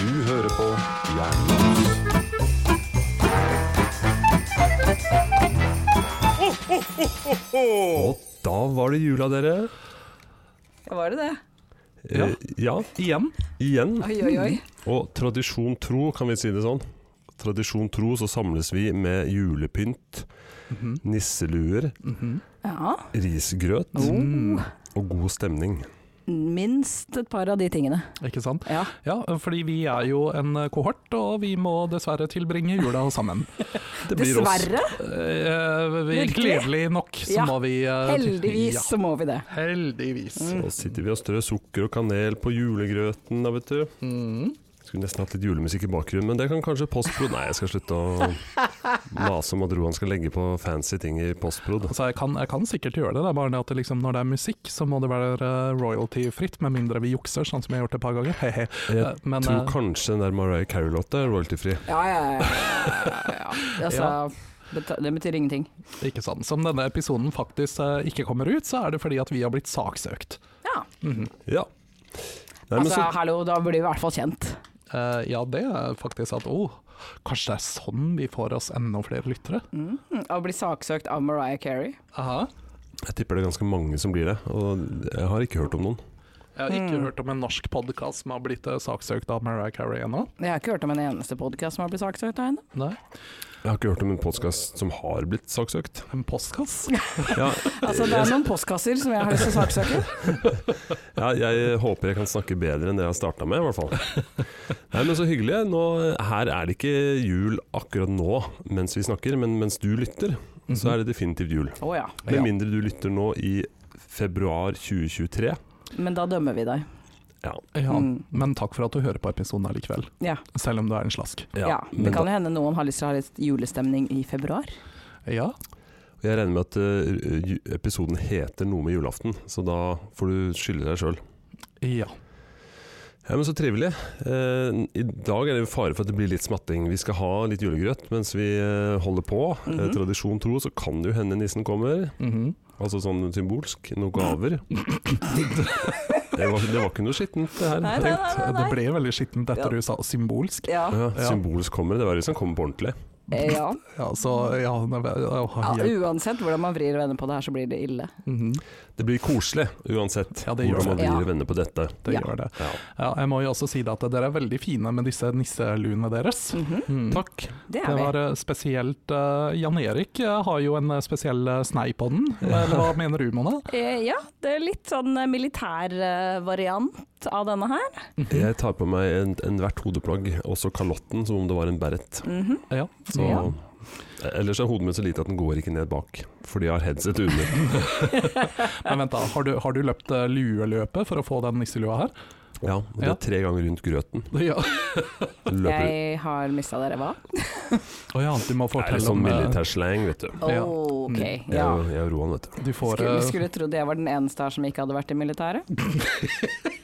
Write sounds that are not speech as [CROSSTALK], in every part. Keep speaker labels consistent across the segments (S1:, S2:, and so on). S1: Du hører på Jernbanen. Og da var det jula, dere.
S2: Var det det?
S1: Ja, ja
S3: Igjen.
S1: igjen.
S2: Oi, oi, oi.
S1: Og tradisjon tro, kan vi si det sånn. Tradisjon tro så samles vi med julepynt,
S3: Mhm.
S1: nisseluer,
S2: Ja.
S1: risgrøt
S2: Oh.
S1: og god stemning.
S2: Minst et par av de tingene.
S3: Ikke sant?
S2: Ja.
S3: Ja, fordi vi er jo en eh, kohort, og vi må dessverre tilbringe
S2: [LAUGHS]
S3: jula sammen.
S1: Det blir oss.
S2: Dessverre.
S3: Eh, vi-
S2: Virkelig?
S3: gledelig nok så
S2: Ja,
S3: må vi eh, til-
S2: Heldigvis Mm. så må vi det.
S3: Ja, heldigvis.
S1: Så sitter vi og strør sukker og kanel på julegrøten, da, vet du.
S3: Mm.
S1: Skulle nesten hatt litt julemusikk i bakgrunnen, men det kan kanskje postprod Nei, jeg skal slutte å
S3: [LAUGHS]
S1: mase om at Roan skal legge på fancy ting i postprod.
S3: Altså, jeg, kan, jeg kan sikkert gjøre det, det er bare det at det liksom, når det er musikk, så må det være eh, royalty-fritt, med mindre vi jukser, sånn som jeg har gjort et par ganger. [LAUGHS] Hehe. Eh,
S1: Jeg
S3: Men
S1: tror
S3: eh,
S1: kanskje den der Mariah Carey-låta er royalty-fri.
S2: Ja, ja, ja. ja,
S1: [LAUGHS]
S2: ja. Altså, beta- det betyr ingenting.
S3: ikke sant. Som denne episoden faktisk eh, ikke kommer ut, så er det fordi at vi har blitt saksøkt.
S2: Ja.
S1: Ja. Nei, men
S2: Altså,
S1: så,
S2: hallo, da blir vi i hvert fall kjent.
S3: Eh, ja, det er faktisk at å, kanskje det er sånn vi får oss enda flere lyttere?
S2: Mm, Å bli saksøkt av Mariah Carey.
S3: Aha.
S1: jeg tipper det er ganske mange som blir det, og jeg har ikke hørt om noen.
S3: Jeg har
S2: Hmm.
S3: ikke hørt om en norsk podkast som har blitt eh, saksøkt av Mariah Carey ennå.
S2: Jeg har ikke hørt om en eneste podkast som har blitt saksøkt av henne.
S3: Nei.
S1: Jeg har ikke hørt om en podkast som har blitt saksøkt.
S3: En postkass?
S1: [LAUGHS] Ja,
S2: Altså, det er noen postkasser som jeg har lyst til å saksøke.
S1: [LAUGHS] ja, jeg håper jeg kan snakke bedre enn det jeg starta med, i hvert fall. [LAUGHS] Nei, men så hyggelig. Nå, her er det ikke jul akkurat nå mens vi snakker, men mens du lytter, Mm-hmm. så er det definitivt jul.
S2: Å ja.
S1: Med
S3: Ja.
S1: mindre du lytter nå i februar 2023.
S2: Men da dømmer vi deg.
S1: Ja.
S3: Ja,
S2: Mm.
S3: men takk for at du hører på episoden allikevel,
S2: Ja.
S3: selv om du er en slask.
S2: ja.
S1: men
S2: Det kan
S1: da,
S2: jo hende noen har lyst til å ha litt julestemning i februar.
S3: Ja,
S1: jeg regner med at eh, ju- episoden heter noe med julaften, så da får du skylde deg sjøl.
S3: ja.
S1: Ja, men Så trivelig. Eh, I dag er det fare for at det blir litt smatting. Vi skal ha litt julegrøt mens vi eh, holder på. Eh,
S2: Mhm.
S1: tradisjon tro så kan det jo hende nissen kommer,
S3: Mhm.
S1: altså sånn symbolsk. Noen
S3: [LAUGHS]
S1: gaver. det, var, det var ikke noe skittent, det her.
S2: Nei, nei, nei, nei,
S3: Det
S2: nei.
S3: ble veldig skittent
S2: Ja.
S3: etter du sa symbolsk.
S2: Ja.
S1: Ja,
S3: Ja.
S1: symbolsk kommer, det var hvis han kommer på ordentlig.
S2: Eh, ja.
S3: Ja, så ja, nei, vel, å,
S2: Hmm. ja.
S3: hjelp.
S2: Uansett hvordan man vrir og vender på det her, så blir det ille.
S3: Mhm.
S1: Det blir koselig uansett
S3: Ja, det gjør
S1: hvordan man
S2: det.
S1: blir
S2: Ja.
S1: venner på dette.
S3: Det
S2: Ja.
S3: gjør det.
S1: Ja.
S3: Ja, jeg må jo også si det at dere er veldig fine med disse nisseluene deres.
S2: Mhm.
S3: Mm.
S1: Takk.
S2: Det
S3: Det
S2: er vi.
S3: var eh, spesielt eh, Jan Erik eh, har jo en eh, spesiell eh, snei på den. Eller hva mener du, Mona?
S2: Eh, ja, det er litt sånn eh, militær eh, variant av denne her.
S3: Mhm.
S1: Jeg tar på meg en- enhvert hodeplagg, også kalotten, som om det var en beret.
S2: Mhm.
S3: Ja,
S1: Så,
S2: Ja.
S1: Ellers er hodet mitt så lite at den går ikke ned bak, for de har headset under.
S3: Men vent da, har du, har du løpt eh, lueløpet for å få den nisselua her?
S1: Ja, og det
S3: Ja.
S1: er tre ganger rundt grøten.
S3: Ja.
S1: Løper.
S2: Jeg har mista dere, hva?
S3: Å ja, du må
S1: Det er litt
S3: fortelle
S1: sånn
S3: om eh,
S1: militærslang, vet du.
S2: Å,
S3: Ja.
S2: ok.
S1: Jeg
S2: Ja.
S1: og- jeg og Roan, vet du.
S3: Du får
S2: Skulle,
S3: eh,
S2: skulle trodd jeg var den eneste her som ikke hadde vært i militæret.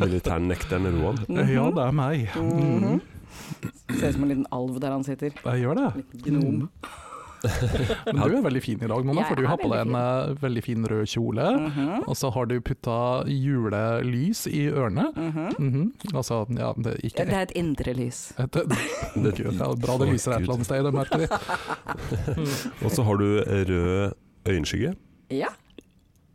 S1: Militærnekteren Roan.
S3: Ja, det er meg.
S2: Mhm. Ser ut som en liten alv der han sitter.
S3: Jeg gjør det.
S2: Liten gnom.
S3: [LAUGHS] Men du er veldig fin i dag, Mona,
S2: Jeg
S3: for du
S2: er
S3: har på deg en eh, veldig fin rød kjole.
S2: Mhm.
S3: Og så har du putta julelys i ørene.
S2: Mhm.
S3: Mhm. Altså, ja, det er ikke
S2: Det er et indre lys.
S3: [LAUGHS] et, Gud, ja, Bra det lyser et eller annet sted, det merker vi.
S1: Og så har du eh, rød øyenskygge.
S2: Ja,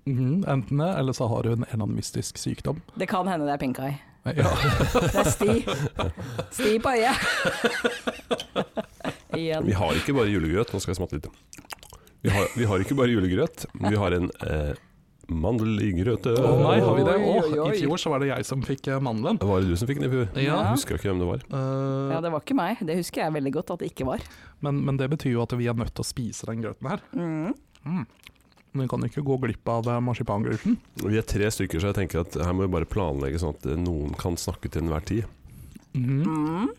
S3: Mhm, enten det, eller så har hun en eller annen mystisk sykdom.
S2: det kan hende det er pink eye.
S3: Ja.
S2: Det er sti. Sti på [LAUGHS] øyet. Igjen.
S1: Vi har ikke bare julegrøt, nå skal jeg smatte litt. Vi har, vi har ikke bare julegrøt, vi har en eh, mandel i grøte.
S3: Å nei, har vi det?
S2: Oi, oi,
S3: Å,
S2: oi.
S3: I fjor så var det jeg som fikk eh, mandelen.
S1: Var det du som fikk den i fjor?
S2: Ja.
S1: Jeg husker ikke hvem det var.
S3: Eh,
S2: Ja, det var ikke meg. Det husker jeg veldig godt at det ikke var.
S3: men, men det betyr jo at vi er nødt til å spise den grøten her.
S2: Mhm.
S3: Vi kan jo ikke gå glipp av eh, marsipangrøten.
S1: Vi er tre stykker, så jeg tenker at her må vi bare planlegge sånn at eh, noen kan snakke til enhver tid.
S3: Mhm.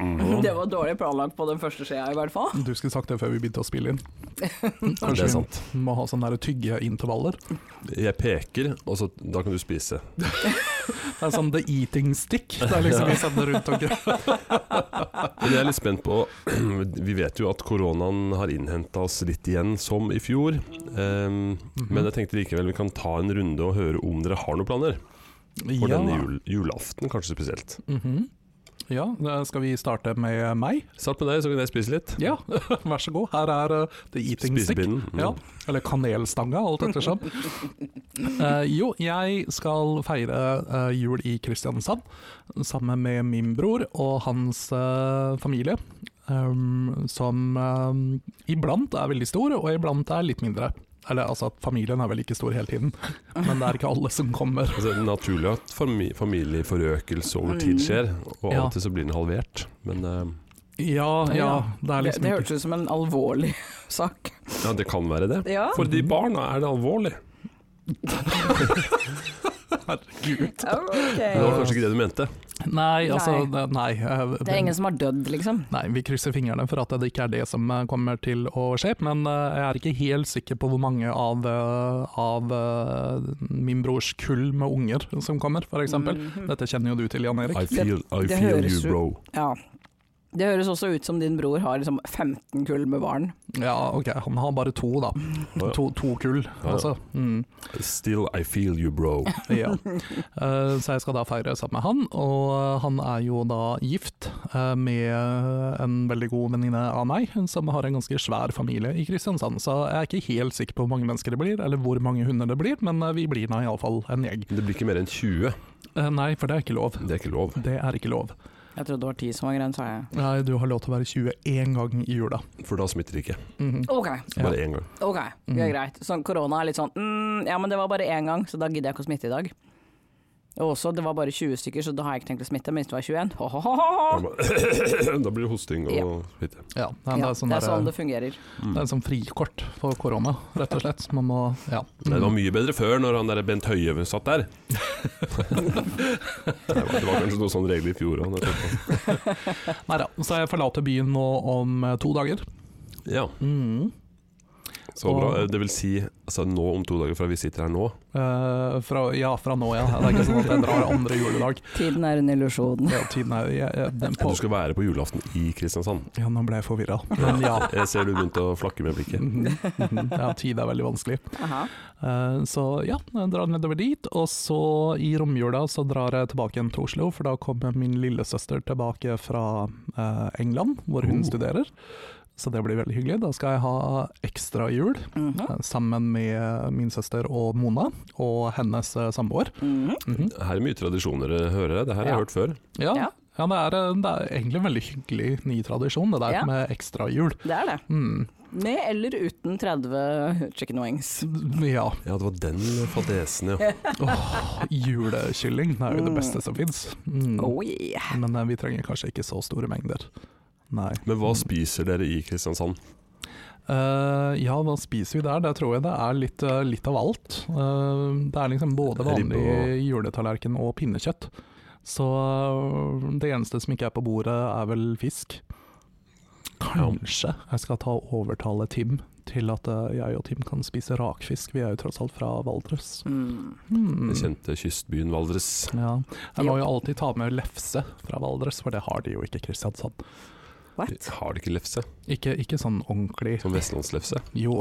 S2: Mm. Det var dårlig planlagt på den første skjea, i hvert fall.
S3: Du skulle sagt det før vi begynte å
S2: [LAUGHS]
S3: spille inn.
S1: Ja, det er
S3: Kanskje
S1: sant.
S3: vi må ha sånne der tyggeintervaller.
S1: Jeg peker, og så, da kan du spise.
S3: Det er sånn the eating stick. Det er liksom vi sender rundt og
S1: Men jeg er litt spent på [CLEARS THROAT] Vi vet jo at koronaen har innhenta oss litt igjen, som i fjor. Ehm, Men jeg tenkte likevel vi kan ta en runde og høre om dere har noen planer. [LAUGHS] For
S3: Ja.
S1: denne jul, julaften, kanskje spesielt.
S3: Mhm. Ja, da skal vi starte med meg?
S1: Start med deg, så kan jeg spise litt.
S3: Ja, [LAUGHS] vær så god. Her er uh, the eating stick.
S1: Spisepinnen. Mm.
S3: Ja, eller kanelstanga, alt
S2: [LAUGHS]
S3: ettersom. Eh, jo, jeg skal feire eh, jul i Kristiansand sammen med min bror og hans eh, familie. ehm, som eh, iblant er veldig stor, og iblant er litt mindre. Eller altså, at familien er vel ikke stor hele
S2: [LAUGHS]
S3: tiden, men det er ikke alle som kommer.
S1: Altså, det er naturlig at fami familieforøkelse over
S2: Mm.
S1: tid skjer, og av
S3: Ja.
S1: og til så blir den halvert. Men eh,
S3: Ja, ja, det er
S2: Det,
S3: liksom
S2: det
S3: ikke
S2: hørtes ut som en alvorlig [LAUGHS] sak.
S1: ja, det kan være det.
S2: Ja.
S1: For de barna er det alvorlig.
S3: Herregud.
S1: Det var
S2: ok.
S1: kanskje ikke det du mente.
S3: Nei, altså, det- nei. eh,
S2: Det er ingen som har dødd, liksom.
S3: Nei, vi krysser fingrene for at det ikke er det som eh, kommer til å skje, men eh, jeg er ikke helt sikker på hvor mange av, eh, av eh, min brors kull med unger som kommer, f.eks.
S2: Mhm.
S3: Dette kjenner jo du til, Jan Erik.
S1: I feel, I
S2: det
S1: feel
S2: høres
S1: you,
S2: jo-
S1: bro.
S2: Ja. Det høres også ut som din bror har liksom 15 kull med barn.
S3: Ja, ok, han har bare to, da.
S1: ja.
S3: To, to kull,
S1: ja.
S3: altså. Mm.
S1: Still I feel you, bro.
S3: Ja. [LAUGHS] Eh, Så jeg skal da feire sammen med han, og eh, han er jo da gift eh, med en veldig god venninne av meg, som har en ganske svær familie i Kristiansand. Så jeg er ikke helt sikker på hvor mange mennesker det blir, eller hvor mange hunder det blir, men eh, vi blir da iallfall en gjeng.
S1: Det blir ikke mer enn 20.
S3: Eh, Nei, for det er ikke lov.
S1: Det er ikke lov.
S3: Det er ikke lov.
S2: Jeg trodde det var 10 som var grønt, sa jeg.
S3: Nei, du har lov til å være 20 én gang i jula.
S1: For da smitter det ikke.
S3: Mhm.
S2: Ok,
S1: Så bare én gang.
S2: ok,
S3: Mm.
S2: det er greit. Sånn, korona er litt sånn mm, Ja, men det var bare én gang, så da gidder jeg ikke å smitte i dag. Og også, det var bare 20 stykker, så da har jeg ikke tenkt å smitte, men hvis det var 21 ho, ho, ho, ho.
S1: Da må- [COUGHS] Da blir det hosting
S2: Ja.
S1: og smitte. Mm.
S3: Ja, nei, det
S2: Ja,
S3: er sånn
S2: det er
S3: der,
S2: sånn
S3: eh,
S2: det fungerer.
S3: det er sånn frikort for korona, rett og slett. Man må Ja.
S1: Nei, Det var mye bedre før, når han der Bent Høie satt [LAUGHS] der. det, var, det var kanskje noe sånn regel i fjor òg.
S3: Nei da, så jeg forlater byen nå om eh, to dager.
S1: Ja,
S3: Mhm.
S1: så bra. Det vil si altså, nå om to dager fra vi sitter her nå.
S3: Eh, fra, ja, fra nå, ja. Det er ikke sånn at jeg drar andre juledag.
S2: Tiden er en illusjon.
S3: Ja, tiden er, jeg, jeg, den på.
S1: Du skal være på julaften i Kristiansand.
S3: ja, nå ble jeg forvirra. Men ja.
S1: Jeg ser du begynte å flakke med blikket.
S3: Mhm, mhm. ja, tid er veldig vanskelig.
S2: Aha.
S3: Eh, så ja, jeg drar nedover dit. Og så i romjula så drar jeg tilbake igjen til Oslo, for da kommer min lillesøster tilbake fra eh, England, hvor hun
S1: Oh.
S3: studerer. Så det blir veldig hyggelig. Da skal jeg ha ekstra jul
S2: Mhm.
S3: eh, sammen med min søster og Mona, og hennes eh, samboer.
S2: Mhm.
S3: Mhm.
S1: Her er mye tradisjoner, eh, hører jeg. Det her har jeg
S2: Ja.
S1: hørt før.
S3: Ja,
S2: Ja.
S3: ja. det, er, det er egentlig en veldig hyggelig ny tradisjon, det der
S2: Ja.
S3: med ekstra jul.
S2: Det er det.
S3: Mm.
S2: Med eller uten 30 chicken wings.
S3: Ja,
S1: Ja, det var den fadesen, ja.
S3: julekylling det er jo det beste som fins. Mm.
S2: Oh yeah.
S3: Men eh, vi trenger kanskje ikke så store mengder. Nei.
S1: Men hva spiser dere i Kristiansand?
S3: Eh, ja, hva spiser vi der? Der tror jeg det er litt, eh, litt av alt. Eh, det er liksom både
S1: Ribbe
S3: vanlig
S1: og-
S3: juletallerken og pinnekjøtt. Så eh, det eneste som ikke er på bordet, er vel fisk. Kanskje jeg skal ta og overtale Tim til at eh, jeg og Tim kan spise rakfisk. Vi er jo tross alt fra Valdres.
S2: Mm.
S3: Hmm.
S1: Den kjente kystbyen Valdres.
S3: Ja. Jeg må jo alltid ta med lefse fra Valdres, for det har de jo ikke i Kristiansand.
S2: What?
S1: Har de ikke lefse?
S3: Ikke, ikke sånn ordentlig
S1: Som vestlandslefse?
S3: Jo,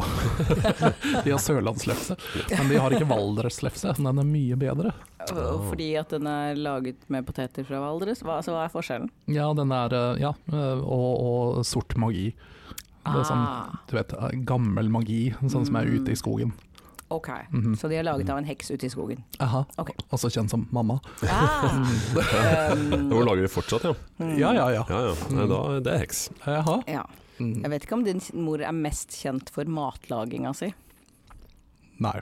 S3: [LAUGHS] de har sørlandslefse, men de har ikke valdreslefse. Den er mye bedre.
S2: Øh, Fordi at den er laget med poteter fra Valdres? Hva, altså, hva er forskjellen?
S3: Ja, den er eh, Ja, eh, og, og sort magi. Det er sånn,
S2: Ah,
S3: du vet, eh, gammel magi, sånn som er ute i skogen.
S2: ok,
S3: Mhm.
S2: så de er laget av en heks ute i
S3: [LAUGHS]
S2: skogen.
S3: Aha.
S2: Ok.
S3: Også kjent som [LAUGHS] mamma.
S2: Ah. Um, [LAUGHS]
S1: Nå lager de fortsatt, ja.
S3: Ja, ja, ja.
S1: ja, ja. Nei, da, det er heks.
S3: Jaha.
S2: ja. Jeg
S3: Mm.
S2: vet ikke om din mor er mest kjent for matlaginga si.
S3: Nei.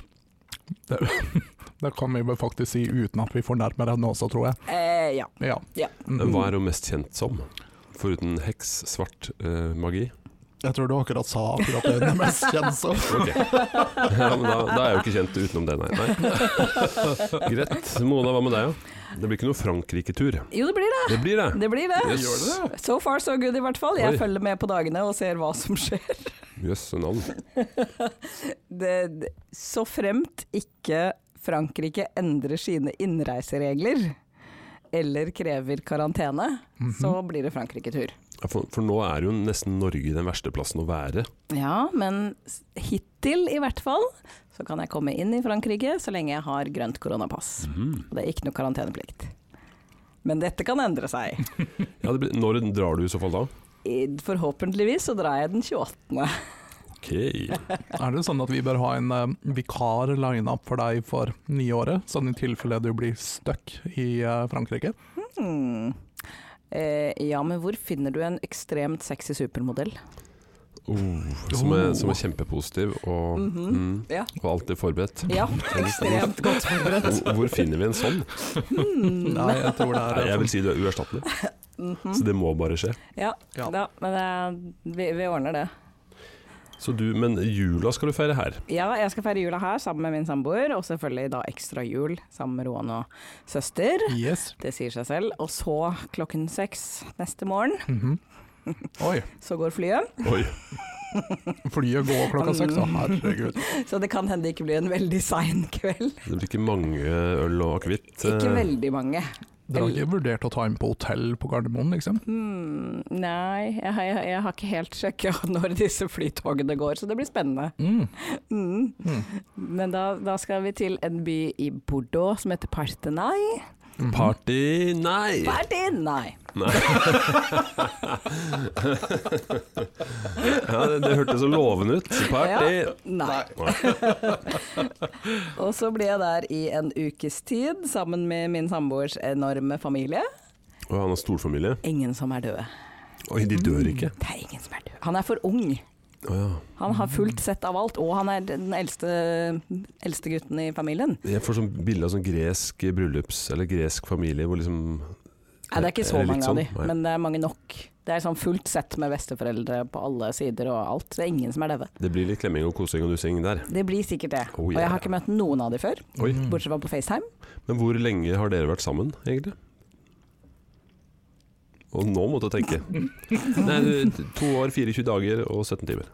S3: Det, [LAUGHS] det kan vi vel faktisk si uten at vi fornærmer henne også, tror jeg.
S2: Eh, ja.
S3: Ja.
S2: Ja.
S1: Men
S3: Mm.
S1: Hva er hun mest kjent som? Foruten heks, svart eh, magi?
S3: Jeg tror du akkurat sa akkurat det den er mest kjent [LAUGHS] som.
S1: Ok. [LAUGHS] Ja, men da, da er jeg jo ikke kjent utenom det, nei. [LAUGHS] nei. Greit. Mona, hva med deg? da? Det blir ikke noe Frankrike-tur.
S2: Jo, det blir det.
S1: Det blir det.
S2: Det blir det.
S1: Yes.
S2: So far so good, i hvert fall.
S1: Oi.
S2: Jeg følger med på dagene og ser hva som skjer.
S1: Jøsse navn.
S2: Det, det, så fremt ikke Frankrike endrer sine innreiseregler eller krever karantene,
S3: Mhm.
S2: så blir det Frankrike-tur.
S1: Ja, For, for nå er jo nesten Norge den verste plassen å være.
S2: Ja, men s- hittil i hvert fall så kan jeg komme inn i Frankrike så lenge jeg har grønt koronapass. Og det er ikke noe karanteneplikt. Men dette kan endre seg.
S1: Ja, det blir, når drar du i så fall da?
S2: I- Forhåpentligvis så drar jeg den 28.
S1: Ok.
S3: Er det sånn at vi bør ha en eh, vikar line-up for deg for nye året? Sånn i tilfelle du blir stuck i eh, Frankrike?
S2: Hmm. Eh, ja, men hvor finner du en ekstremt sexy supermodell?
S1: Oh, som, er, som er kjempepositiv og,
S2: Mhm. Ja.
S1: mm, og alltid forberedt.
S2: Ja, ekstremt godt forberedt.
S1: Hvor, hvor finner vi en sånn?
S3: Nei, jeg tror det
S1: [LAUGHS] Nei,
S3: er eh,
S1: jeg vil si du er uerstattelig.
S2: Mhm.
S1: Så det må bare skje.
S2: Ja,
S3: Ja.
S2: da, men eh, vi, vi ordner det.
S1: Så du, men jula skal du feire her.
S2: Ja, jeg skal feire jula her sammen med min samboer, og selvfølgelig da ekstra jul sammen med Roan og søster.
S3: Yes.
S2: Det sier seg selv. Og så klokken seks neste morgen,
S3: Mhm. Oi,
S2: så går flyet.
S1: Oi.
S3: flyet går klokka seks, å herregud.
S2: Så det kan hende det ikke blir en veldig sein kveld.
S1: Det blir ikke mange øl og akevitt. eh,
S2: Ikke veldig mange.
S3: Dere har ikke vurdert å ta inn på hotell på Gardermoen, liksom?
S2: Hmm, nei, jeg, jeg, jeg har ikke helt sjekka [LAUGHS] når disse flytogene går, så det blir spennende.
S3: Mm.
S2: Mm.
S3: Mm.
S2: Men da, da skal vi til en by i Bordeaux som heter Partenay.
S3: Mhm.
S1: Party nei!
S2: Partenay!
S1: nei. ja, det, det hørtes så lovende ut. Party!
S2: Nei. [LAUGHS] Og så ble jeg der i en ukes tid sammen med min samboers enorme familie.
S1: Og han har storfamilie.
S2: Ingen som er døde.
S1: Oi, de dør ikke.
S2: Det er ingen som er død. Han er for ung.
S1: Å ja.
S2: Han har fullt sett av alt, og han er den eldste, eldste gutten i familien.
S1: Jeg får sånn bilde av sånn gresk bryllups, eller gresk familie, hvor liksom
S2: Nei, det er ikke så
S1: Er det litt
S2: mange av de,
S1: sånn? Nei.
S2: men det er mange nok. Det er sånn fullt sett med besteforeldre på alle sider og alt. Det er ingen som er døde.
S1: Det blir litt klemming og kosing og nussing der.
S2: Det blir sikkert det.
S1: Oh,
S2: Og
S1: ja,
S2: jeg
S1: ja. Mm.
S2: har ikke møtt noen av de før,
S1: Oi.
S2: Mm. bortsett fra på FaceTime.
S1: Men hvor lenge har dere vært sammen, egentlig? Og nå måtte jeg tenke. Nei, du, to år, 24 dager og 17 timer.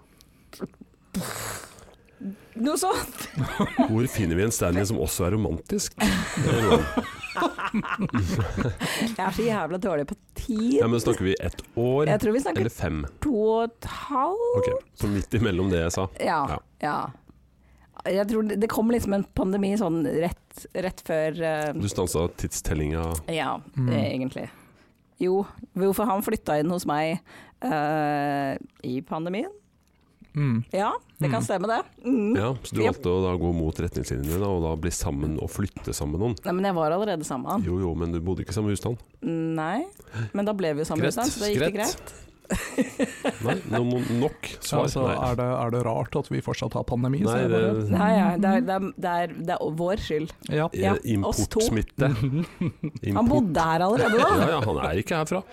S2: Noe sånt! [LAUGHS]
S1: Hvor finner vi en stand-in som også er romantisk? Det er noe.
S2: Jeg er så jævla dårlig på
S1: Ja,
S2: tid.
S1: men Snakker vi ett år
S2: Jeg tror vi snakker
S1: eller fem?
S2: to og et halvt.
S1: Ok, Så midt imellom det jeg sa. Ja.
S2: Ja, ja. Jeg tror det, det kom liksom en pandemi sånn rett, rett før eh,
S1: Du stansa tidstellinga
S2: Ja,
S3: Mm.
S2: eh, egentlig. Jo, hvorfor han flytta inn hos meg eh, i pandemien?
S3: Mm.
S2: Ja, det kan
S3: Mm.
S2: stemme det. Mm.
S1: Ja, Så du
S2: Yep.
S1: valgte å da gå mot retningslinjene da, og da bli sammen og flytte sammen med noen?
S2: Nei, men jeg var allerede sammen med han.
S1: Jo jo, men du bodde ikke i samme husstand?
S2: Nei, men da ble vi jo sammen,
S1: Greit,
S2: ikke sant? så da gikk det greit.
S1: Nei, no, no, nok
S3: Ja,
S1: svar.
S3: så er, det, er det rart at vi fortsatt har pandemi?
S1: Nei,
S3: Altså, så jeg
S1: det,
S3: bare,
S2: Nei, ja, det, er, det, er, det, er, det er vår skyld.
S3: ja.
S2: Ja,
S1: eh,
S2: oss to.
S1: Importsmitte.
S2: Han
S1: Import.
S2: bodde her allerede
S1: [LAUGHS]
S2: da.
S1: Ja, ja, han er ikke
S2: [LAUGHS]
S1: herfra.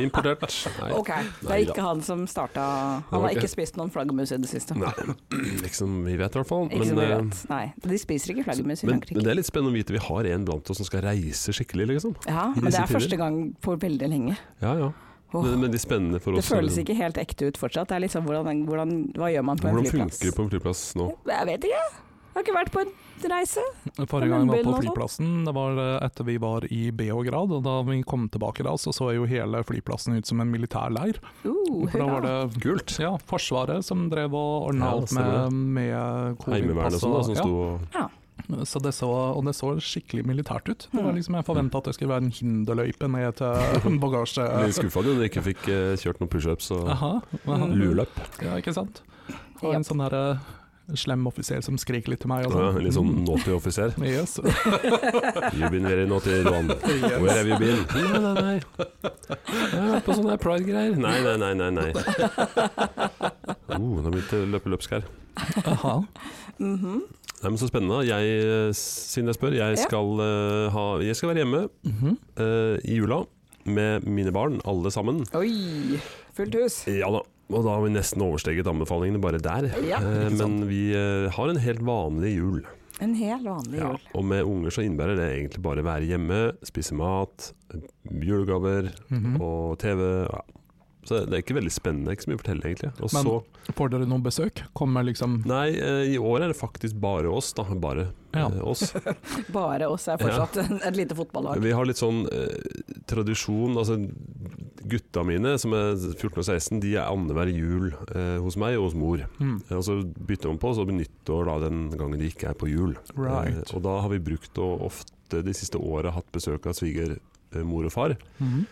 S1: Importert. Nei.
S2: Ok, det er
S1: Nei da.
S2: ikke han som starta Han
S1: var
S2: har
S1: ikke-
S2: ikke spist noen flaggermus i det siste.
S1: Nei. [CLEARS THROAT] Ikke som vi vet, i hvert fall.
S2: Ikke som vi
S1: eh,
S2: vet. Nei, de spiser ikke flaggermus i
S1: men, men
S2: Frankrike.
S1: det er litt spennende å vite vi har en blant oss som skal reise skikkelig, liksom.
S2: Ja,
S1: i
S2: men det
S1: disse
S2: er
S1: tider.
S2: første gang på veldig lenge.
S1: Ja, ja.
S2: Åh.
S1: Men, men de spennende for
S2: Det
S1: oss
S2: føles
S1: liksom,
S2: ikke helt ekte ut fortsatt. Det er liksom hvordan, hvordan, Hva gjør man på en
S1: Hvordan
S2: flyplass?
S1: funker det på en flyplass nå?
S2: Jeg vet ikke. Jeg har ikke vært på en reise.
S3: Forrige gang jeg var på
S2: Munnbind og
S3: flyplassen, det var eh, etter vi var i Beograd. og Da vi kom tilbake da, så så jo hele flyplassen ut som en militærleir.
S2: Uh,
S3: For da var det
S1: Kult.
S3: ja, Forsvaret som drev og ordna
S1: Ja,
S3: alt
S1: stemmer
S3: med, med
S1: Heimevernet og
S3: covid-pass.
S1: sånn, da,
S3: og-
S1: som
S3: ja.
S1: sto og
S3: Så det så, og det så skikkelig militært ut. Det var liksom, jeg forventa at det skulle være en hinderløype ned
S1: [LAUGHS]
S3: til bagasje...
S1: ble skuffa da de ikke fikk eh, kjørt noen pushups og
S3: Aha, aha.
S1: luløp.
S3: Ja, ikke sant? Og en sånn her, eh, slem offiser som skriker litt til meg. Og
S1: Ja,
S3: sånn.
S1: litt sånn naughty officer.
S2: [LAUGHS]
S3: Yes.
S1: [LAUGHS] You've been very naughty, Roan. Where have you [LAUGHS] been? Nei, nei, nei. Jeg har vært på sånne pride-greier. Nei, nei, nei, nei. nei. Oh, nå begynte jeg å løpe løpsk her.
S3: Aha.
S2: Mhm.
S1: Nei, men Så spennende. Jeg, eh, siden jeg spør, jeg
S2: Ja.
S1: skal, eh, ha, jeg skal være hjemme
S3: Mhm.
S1: eh, i jula med mine barn, alle sammen.
S2: Oi! Fullt hus.
S1: Ja da. Og da har vi nesten oversteget anbefalingene bare der.
S2: Ja,
S1: Eh,
S3: ikke sant.
S1: Men vi eh, har en helt vanlig jul.
S2: En hel vanlig
S1: Ja,
S2: jul.
S1: og med unger så innebærer det egentlig bare å være hjemme, spise mat, julegaver
S3: Mhm.
S1: og TV. Ja. Så det er ikke veldig spennende, ikke så mye å fortelle egentlig. Og
S3: Men-
S1: så,
S3: Får dere noen besøk? Kommer liksom
S1: nei, eh, i år er det faktisk bare oss, da. Bare
S3: Ja.
S1: eh,
S3: [LAUGHS]
S1: oss.
S2: Bare oss er fortsatt [LAUGHS] et lite fotballag.
S1: Vi har litt sånn eh, tradisjon, altså gutta mine som er 14 og 16, de er annenhver jul eh, hos meg og hos mor.
S3: mm.
S1: Og så bytter man på, så blir nyttår da den gangen de ikke er på jul.
S3: Right.
S1: Eh, og da har vi brukt og ofte de siste åra hatt besøk av svigermor og far.
S3: Mhm.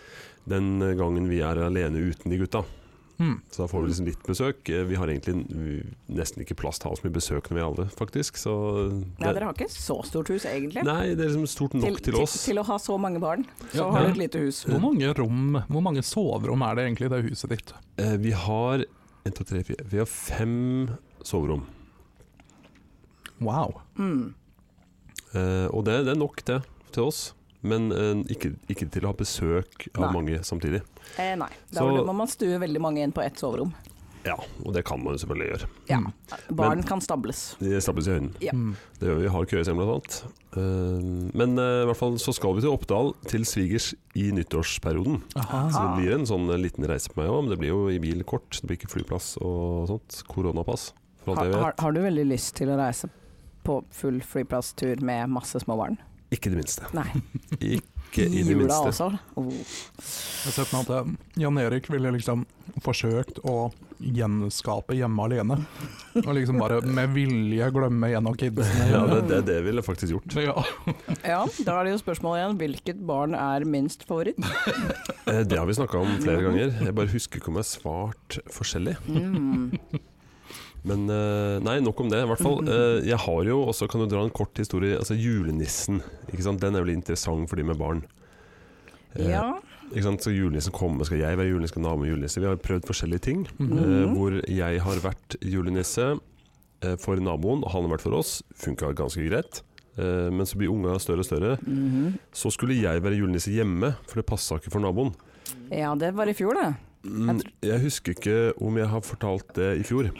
S1: Den eh, gangen vi er alene uten de gutta.
S3: Mm.
S1: Så da får vi liksom litt besøk. Eh, Vi har egentlig n- nesten ikke plass til å ha så mye besøk når vi er alle, faktisk. Så
S2: Nei, dere har ikke så stort hus, egentlig.
S1: Nei, det er liksom stort nok til, oss.
S2: Til, til å ha så mange barn, så
S3: Ja,
S2: har
S3: men-
S2: du et lite hus.
S3: Hvor mange rom, hvor mange soverom er det egentlig i det huset ditt?
S1: Eh, vi har en, to, tre, fire. Vi har fem soverom.
S3: Wow.
S2: Mm.
S1: Eh, og det, det er nok, det, til oss. Men eh, ikke, ikke til å ha besøk av
S2: Nei.
S1: mange samtidig.
S2: Eh, nei, da
S1: Så-
S2: må man stue veldig mange inn på ett soverom.
S1: Ja, og det kan man jo selvfølgelig gjøre.
S2: Ja.
S3: Mm.
S2: Barn kan stables.
S1: De stappes i høyden.
S2: Ja.
S3: Mm.
S1: Det gjør vi. Har køyesem, blant annet. Eh, men eh, i hvert fall så skal vi til Oppdal, til svigers, i nyttårsperioden. Så
S3: Aha.
S1: det
S2: Ah.
S1: blir en sånn eh, liten reise på meg òg, men det blir jo i bil kort. Det blir ikke flyplass og sånt. Koronapass, for alt
S2: Har,
S1: jeg vet.
S2: har, har du veldig lyst til å reise på full flyplasstur med masse små barn?
S1: Ikke det minste.
S2: Nei.
S1: [LAUGHS] Ikke i det
S2: jula
S1: minste.
S2: også. Oh.
S3: Jeg ser for meg at eh, Jan Erik ville liksom forsøkt å gjenskape hjemme alene. Og liksom bare med vilje glemme en av kidsene.
S1: Ja, det, det, det ville jeg faktisk gjort.
S3: Ja.
S2: Ja, da er det jo spørsmålet igjen. Hvilket barn er minst favoritt?
S1: Eh, Det har vi snakka om flere ganger. Jeg bare husker ikke om jeg har svart forskjellig.
S2: Mm.
S1: Men eh, nei, nok om det. I hvert fall, eh, jeg har jo også, kan du dra en kort historie, altså julenissen. Ikke sant? Den er vel interessant for de med barn. [LAUGHS] Eh,
S2: Ja.
S1: ikke sant? Så julenissen kommer, skal jeg være julenisse, skal naboen være julenisse? Vi har prøvd forskjellige ting.
S3: Mhm.
S1: eh,
S2: Mhm.
S1: hvor jeg har vært julenisse eh, for naboen, og han har vært for oss. Funka ganske greit. Eh, men så blir unga større og større.
S2: Mhm.
S1: Så skulle jeg være julenisse hjemme, for det passa ikke for naboen.
S2: ja, det var i fjor, det.
S1: Mm, jeg husker ikke om jeg har fortalt det i fjor.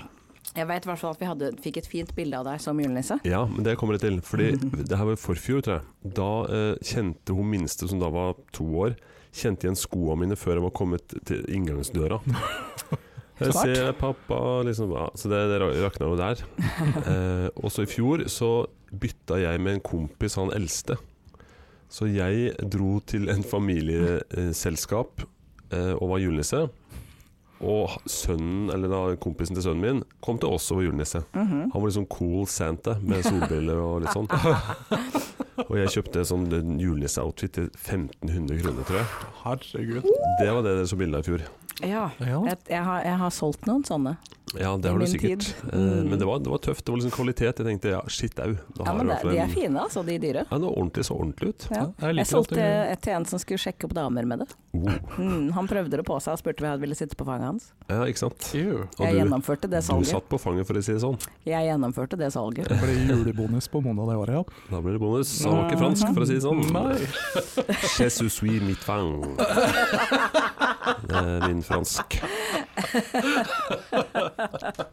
S2: Jeg veit i hvert fall at vi hadde, fikk et fint bilde av deg som julenisse.
S1: Ja, men det kommer jeg til. Fordi det her var i forfjor, tror jeg. Da eh, kjente hun minste, som da var to år, kjente igjen skoene mine før jeg var kommet til inngangsdøra. Jeg
S2: Smart.
S1: ser pappa liksom, ja, Så det, det ra- rakna jo der. Eh, og så i fjor så bytta jeg med en kompis, han eldste. Så jeg dro til en familieselskap eh, og var julenisse. Og sønnen, eller da kompisen til sønnen min kom til oss og var julenisse.
S2: Mhm.
S1: Han var liksom cool Santa med solbriller og litt sånn. Og jeg kjøpte sånn en julenisseoutfit til 1500 kroner, tror jeg.
S3: Herregud.
S1: Det var det dere så bilde av i fjor.
S2: Ja.
S3: Ja.
S2: Jeg, jeg, har, jeg har solgt noen sånne.
S1: Ja, det
S2: I
S1: har du
S2: min
S1: sikkert.
S2: tid.
S1: Eh,
S2: Mm.
S1: Men det var, det var tøft. Det var liksom kvalitet. Jeg tenkte ja, shit au. Da
S2: Ja,
S1: har jeg
S2: men
S1: i
S2: det,
S1: hvert fall
S2: de er
S1: en-
S2: fine, altså, de dyre.
S1: Ja, det var ordentlig så ordentlig ut.
S2: Ja.
S3: Jeg
S2: Jeg
S3: liker at
S2: solgte
S3: du
S2: et til en som skulle sjekke opp damer med det.
S1: Oh.
S2: Mm, han prøvde det på seg og spurte om jeg ville sitte på fanget hans.
S1: Ja, ikke sant.
S3: Ew.
S1: Og
S2: Jeg
S1: du,
S2: gjennomførte det
S1: du
S2: salget.
S1: satt på fanget, for å si det sånn.
S2: Jeg gjennomførte det salget.
S3: Det ble julebonus på Mona det året, ja.
S1: Da ble det
S2: Mm.
S1: bonus. Han var ikke fransk, for å si det sånn.
S3: Nei.
S1: Jesus suis mitt fang. Det er min fransk.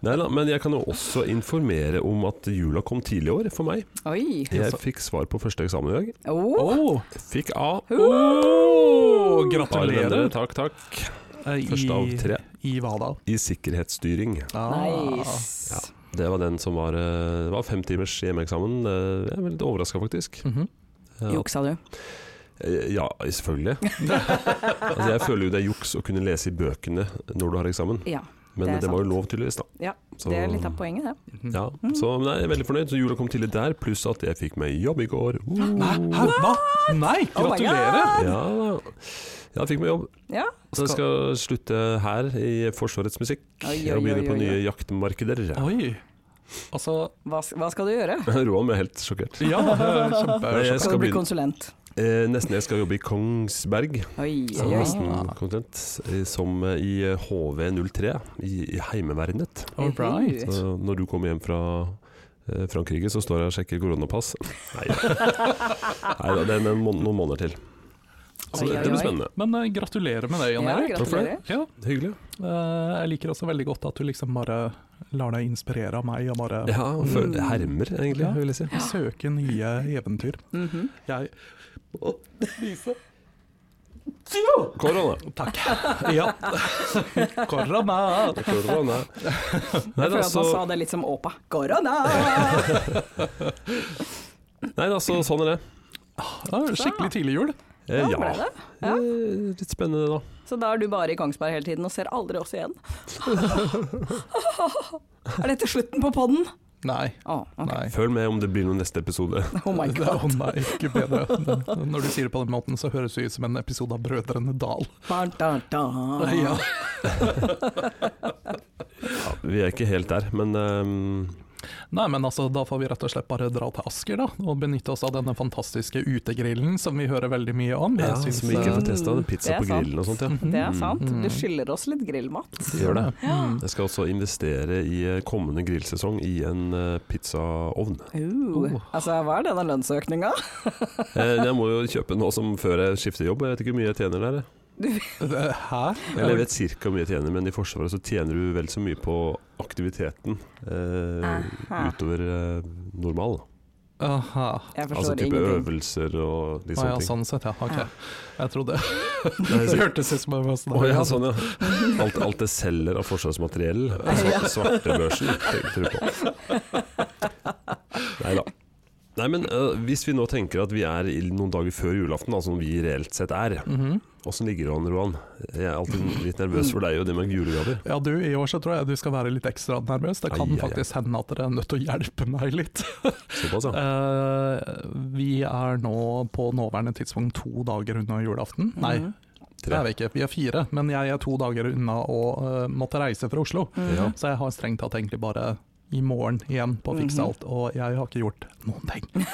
S1: Nei da, men jeg kan jo også informere om at jula kom tidlig i år for meg.
S2: Oi!
S1: Jeg fikk svar på første eksamen i dag.
S2: Oh.
S3: Oh.
S1: Jeg Fikk A.
S3: Oh,
S1: Bare venner,
S3: gratulerer.
S1: takk, takk.
S3: Eh, i-
S1: Første av tre.
S3: I hva da?
S1: I sikkerhetsstyring.
S3: Ah.
S2: Nice.
S1: Det var den som var, eh, det var fem timers hjemmeeksamen. Eh, Jeg er veldig overraska, faktisk.
S2: Mm.
S3: Mhm.
S1: Eh, at-
S2: Juksa du?
S1: eh, Ja,
S2: [LAUGHS]
S1: selvfølgelig. Altså, jeg føler jo det er juks å kunne lese i bøkene når du har eksamen.
S2: Ja.
S1: Men
S2: Det
S1: det,
S2: er
S1: var jo
S2: sant.
S1: lov, tydeligvis. da
S2: Ja,
S1: Så-
S2: Det er litt av Mm. poenget, det.
S3: Mhm.
S1: Ja, så men jeg er veldig fornøyd. Så jula kom tidlig der, pluss at jeg fikk meg jobb i går. Uh.
S3: Hæ? Hæ? Hva? Nei,
S2: Oh my
S3: gratulerer!
S1: Ja, da. Ja, jeg fikk meg jobb.
S2: Ja.
S1: Så jeg skal slutte her i Forsvarets musikk
S2: Oi, oi,
S1: og begynne
S2: oi,
S1: på
S2: oi,
S1: nye
S2: oi.
S1: jaktmarkeder.
S3: Oi. Altså
S2: Hva, s- hva skal du gjøre?
S1: [LAUGHS] Roan ble helt sjokkert.
S2: [LAUGHS]
S3: Ja,
S1: Nei, jeg
S3: kjempe...
S1: skal
S2: Skal du bli
S1: begynne-
S2: konsulent?
S1: Eh, nesten jeg skal jobbe i Kongsberg,
S2: Oi,
S1: som
S2: oi, oi.
S1: nesten kontent, eh, som eh, i HV03 i, i Heimevernet.
S3: All right.
S1: Så når du kommer hjem fra eh, Frankrike, så
S2: [LAUGHS]
S1: står jeg og sjekker koronapass. Nei da, det er med en mån- noen måneder til. Så
S2: Oi,
S1: det,
S2: oi,
S1: det blir
S2: oi.
S1: spennende.
S3: Men eh, gratulerer med det, Jan
S2: Ja,
S3: Erik.
S2: gratulerer.
S3: Ja,
S1: Hyggelig.
S3: eh, jeg liker også veldig godt at du liksom bare lar deg inspirere av meg, og bare
S1: Ja, for,
S2: Mm.
S1: hermer, egentlig,
S3: Ja.
S1: vil jeg si.
S3: søke nye
S2: [LAUGHS]
S3: eventyr.
S2: Mhm.
S3: Jeg
S1: Korona.
S3: Takk. Ja. Korona!
S2: [LAUGHS]
S1: Korona. Nei, det er
S2: Jeg føler at man
S1: altså,
S2: sa det litt som Åpa.
S1: [LAUGHS]
S2: Korona!
S1: nei, det er altså sånn er det.
S3: Ja, Skikkelig tidlig jul.
S1: Eh,
S2: Ja, ble
S1: ja.
S2: det.
S1: Eh, Litt spennende, da.
S2: Så da er du bare i Kongsberg hele tiden og ser aldri oss igjen. [LAUGHS] Er dette slutten på podden?
S3: Nei.
S2: Å, ok.
S3: Nei.
S1: Følg med om det blir noen neste episode.
S2: Oh my
S3: Det
S1: [LAUGHS]
S3: er
S2: god.
S3: å nei, ikke bedre. Når du sier det på den måten, så høres det ut som en episode av Brødrene Dal.
S2: Da, da, da.
S3: Ja.
S1: Ja, vi er ikke helt der, men ehm,
S3: Nei, men altså, da får vi rett og slett bare dra til Asker, da. Og benytte oss av denne fantastiske utegrillen som vi hører veldig mye om. Jeg
S1: ja,
S3: syns,
S1: som vi ikke
S3: eh,
S1: får testa. Pizza
S2: Det er
S1: på
S2: sant.
S1: grillen og sånt, ja.
S3: mhm,
S2: Det er sant. Du
S3: Mm.
S2: skylder oss litt grillmat.
S1: Gjør det.
S3: Mm.
S1: Jeg skal også investere i eh, kommende grillsesong i en eh, pizzaovn.
S2: Uh. Altså, hva er denne lønnsøkninga?
S1: Eh, Jeg må jo kjøpe noe som før jeg skifter jobb. Jeg vet ikke hvor mye jeg tjener der. jeg.
S3: Eh, Hæ?
S1: Eller jeg vet cirka hvor mye jeg tjener, men i Forsvaret så tjener du vel så mye på aktiviteten eh,
S2: Aha.
S1: utover eh, normal.
S3: Aha.
S2: Jeg forstår
S1: Altså type
S2: ingenting.
S1: øvelser og litt
S3: Å ja,
S1: sånne ting.
S3: sånn sett, ja. Ok.
S2: Ja.
S3: Jeg trodde
S1: [LAUGHS] Nei,
S3: Det
S1: så-
S3: [LAUGHS] hørtes ut som jeg var sånn
S1: Å ja, sånn ja. Alt, alt det selger av forsvarsmateriell. Altså, Svarte, svartebørsen, tenkte du på. Nei da. Nei, men eh, hvis vi nå tenker at vi er i noen dager før julaften, da, som vi reelt sett er,
S3: Mhm.
S1: åssen ligger det an, Roan? Jeg er alltid litt nervøs for deg og det med julegaver.
S3: Ja, du, i år så tror jeg du skal være litt ekstra nervøs. Det kan
S1: Ai, ai, ai.
S3: faktisk hende at dere er nødt til å hjelpe meg litt.
S1: Såpass, ja.
S3: Eh, vi er nå på nåværende tidspunkt to dager unna julaften. Nei,
S2: Mhm.
S3: det er vi ikke. Vi er fire, men jeg er to dager unna å eh, måtte reise fra Oslo.
S1: Ja.
S3: Så jeg har strengt tatt egentlig bare i morgen igjen på å fikse
S2: Mhm.
S3: alt, og jeg har ikke gjort noen ting.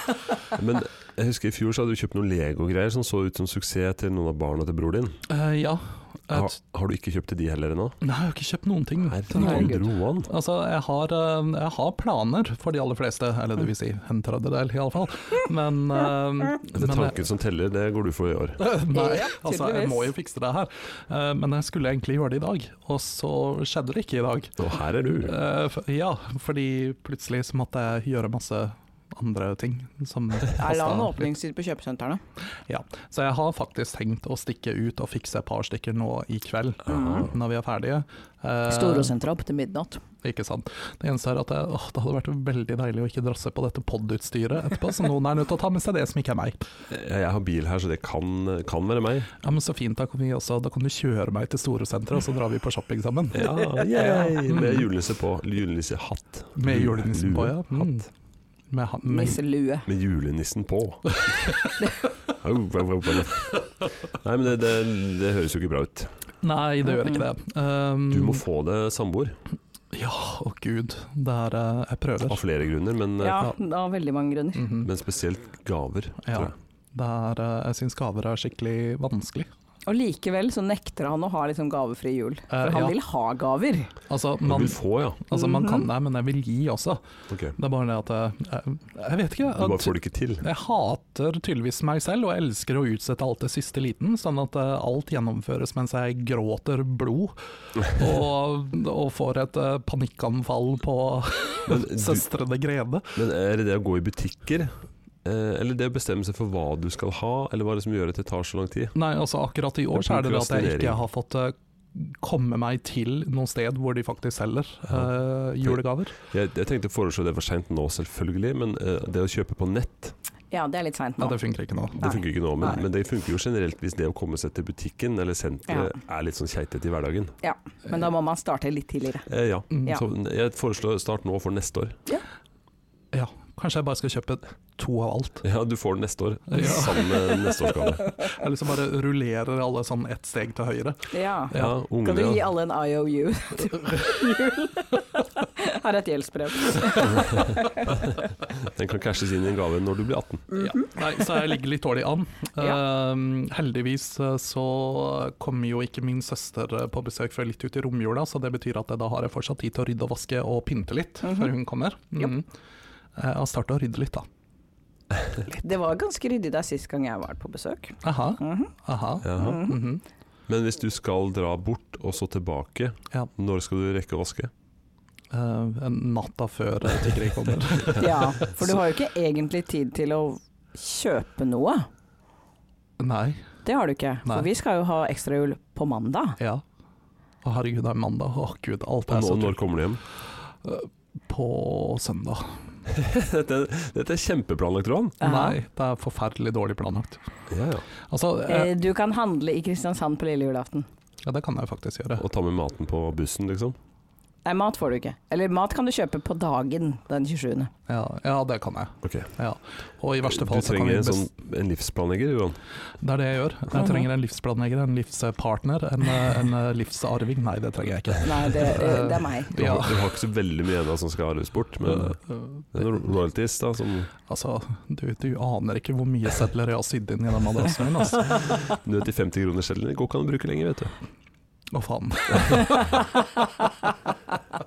S1: Men jeg husker i fjor så hadde du kjøpt noen Lego-greier som så ut som suksess til noen av barna til bror din.
S3: Eh, ja. Jeg,
S1: Har, har du ikke kjøpt til de heller ennå?
S3: nei, jeg har ikke kjøpt noen ting. til noen.
S1: Herregud, Roan.
S3: Altså, jeg har, eh, jeg har planer for de aller fleste, eller det vil si en tredjedel iallfall, [LAUGHS] men, eh,
S1: Det er
S3: men jeg- [LAUGHS]
S1: tanken som teller, det går du for i år.
S3: Nei,
S2: Ja,
S3: altså jeg
S2: tydeligvis.
S3: må jo fikse det her. Eh, Men jeg skulle egentlig gjøre det i dag, og så skjedde det ikke i dag.
S1: Og her er du.
S3: Eh, f- Ja, fordi plutselig så måtte jeg gjøre masse andre ting. Som
S2: Er det en
S3: kostet-
S2: åpningstid på kjøpesentrene?
S3: Så jeg har faktisk tenkt å stikke ut og fikse et par stykker nå i kveld,
S1: Mhm.
S3: når vi er ferdige. Eh,
S2: Storosenteret opp til midnatt.
S3: Ikke sant. Det eneste er at jeg, åh, det hadde vært veldig deilig å ikke drasse på dette podutstyret etterpå, så noen er nødt til å ta med seg det som ikke er meg.
S1: Jeg jeg har bil her, så det kan, kan være meg.
S3: Ja, men så fint, da kan, vi også, da kan du kjøre meg til Storosenteret, og så drar vi på shopping sammen.
S1: Ja,
S3: [LAUGHS] yay!
S1: Med julelisse på. Julenissehatt.
S3: Med julenissen på, ja. Mm. Med, han- med,
S2: Nisselue.
S1: Med julenissen på. Au, au, au, au. Nei, men det, det, det høres jo ikke bra ut.
S3: nei, det gjør ikke det. Um,
S1: Du må få deg samboer,
S3: Å gud, det er eh, Jeg prøver.
S1: av flere grunner, men, eh,
S2: Ja, av veldig mange grunner.
S3: Mhm.
S1: men spesielt gaver. tror
S3: Ja.
S1: jeg.
S3: Det er, eh, jeg syns gaver er skikkelig vanskelig.
S2: Og likevel så nekter han å ha liksom gavefri jul. For
S3: Eh,
S2: han
S3: ja.
S2: vil ha gaver.
S3: Altså,
S1: Du
S3: man,
S1: vil få, ja.
S3: altså, man kan det, men jeg vil gi også.
S1: Ok.
S3: Det er bare det at jeg, jeg, jeg vet ikke.
S1: Du bare
S3: At,
S1: får det ikke til.
S3: jeg hater tydeligvis meg selv, og jeg elsker å utsette alt til siste liten, sånn at eh, alt gjennomføres mens jeg gråter
S1: [LAUGHS]
S3: blod og, og får et eh, panikkanfall på
S1: Men, du,
S3: søstrene Grede.
S1: men er det det å gå i butikker? Eh, eller det å bestemme seg for hva du skal ha, eller hva det som gjør at det tar så lang tid?
S3: Nei, altså akkurat i år så er det det at jeg ikke
S1: Prokrastinering.
S3: har fått eh, komme meg til noe sted hvor de faktisk selger eh, julegaver.
S1: Jeg, jeg tenkte å foreslå det for seint nå, selvfølgelig, men eh, det å kjøpe på nett,
S2: Ja, det er litt seint
S3: Nei,
S2: nå.
S3: det funker ikke nå.
S1: det funker ikke nå. Men,
S2: Nei.
S1: men det funker jo generelt hvis det å komme seg til butikken eller senteret er litt sånn keitete i hverdagen.
S2: Ja, men da må man starte litt tidligere.
S1: Eh, ja.
S3: Mm.
S2: Ja.
S1: Så jeg foreslår start nå for neste år. [LAUGHS]
S3: Ja, kanskje jeg bare skal kjøpe to av alt.
S1: Ja, du får den neste år.
S3: Ja.
S1: [LAUGHS] Sammen med neste års
S3: [LAUGHS]
S1: gave.
S3: Jeg liksom bare rullerer alle sånn ett steg til høyre.
S2: Ja.
S1: Ja,
S2: Kan
S1: ungene,
S2: du gi
S1: Mm, ja.
S2: alle en IOU [LAUGHS] til jul? Her er et gjeldsbrev.
S1: Den kan cashes inn i en gave når du blir 18.
S3: Ja. Nei, så jeg ligger litt dårlig an. Eh, heldigvis eh, så kommer jo ikke min søster eh, på besøk før litt ut i romjula, så det betyr at jeg da har jeg fortsatt tid til å Eh, rydde og vaske og pynte litt før hun kommer. Mm. Eh, Jeg har starta å rydde litt, da.
S2: Det var ganske ryddig der sist gang jeg var på besøk.
S3: Aha,
S2: Mhm.
S3: aha.
S1: Jaha.
S2: Mhm.
S3: Mhm.
S1: Men hvis du skal dra bort og så tilbake,
S3: Ja.
S1: når skal du rekke å vaske?
S3: Eh, en natta før eh, tiggeri kommer.
S1: [LAUGHS]
S2: Ja, for du har jo ikke egentlig tid til å kjøpe noe.
S3: Nei.
S2: Det har du ikke.
S3: Nei.
S2: For vi skal jo ha ekstrajul på mandag.
S3: Ja. Å, herregud, det er mandag. Å, gud, alt
S1: Og
S3: er
S1: nå,
S3: så
S1: når
S3: dyrt.
S1: kommer du hjem? [LAUGHS]
S3: På søndag.
S1: dette, dette er kjempeplanlagt, Roan.
S2: Ja.
S3: Nei, det er forferdelig dårlig planlagt.
S1: Ja, ja.
S3: Altså, eh,
S2: Eh, Du kan handle i Kristiansand på lille julaften.
S3: ja, det kan jeg faktisk gjøre.
S1: Og ta med maten på bussen, liksom.
S2: Nei, mat får du ikke. Eller mat kan du kjøpe på dagen den 27.
S3: Ja, ja det kan jeg.
S1: Ok.
S3: Ja. Og i verste
S1: Du
S3: fall så kan vi
S1: trenger en,
S3: best...
S1: sånn, en livsplanlegger, Roan.
S3: Det er det jeg gjør.
S2: Mhm.
S3: Jeg trenger en livsplanlegger, en livspartner, en, eh, en eh, livsarving. Nei, det trenger jeg ikke.
S2: Nei, det, eh, det er
S1: [LAUGHS]
S2: meg.
S1: Du,
S3: Ja.
S1: har- du har ikke så veldig mye ennå som skal arves bort, men
S3: Eh,
S1: det er noen royalties, da, som
S3: altså, du, du aner ikke hvor mye sedler jeg har sydd inn i den madrassen min. Altså.
S1: du vet, de 50 kroner skjellene går ikke an å bruke lenger, vet du.
S3: Å faen.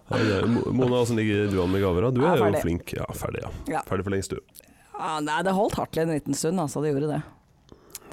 S1: Ja, det er- Mo- Mona, åssen ligger du an med gaver? da? Du
S2: Ja,
S1: er jo
S2: ferdig.
S1: flink. Ja, ferdig, ja.
S2: Ja.
S1: Ferdig for lengst, du.
S2: Ah, nei, det holdt hardt en liten stund, altså. Det gjorde det.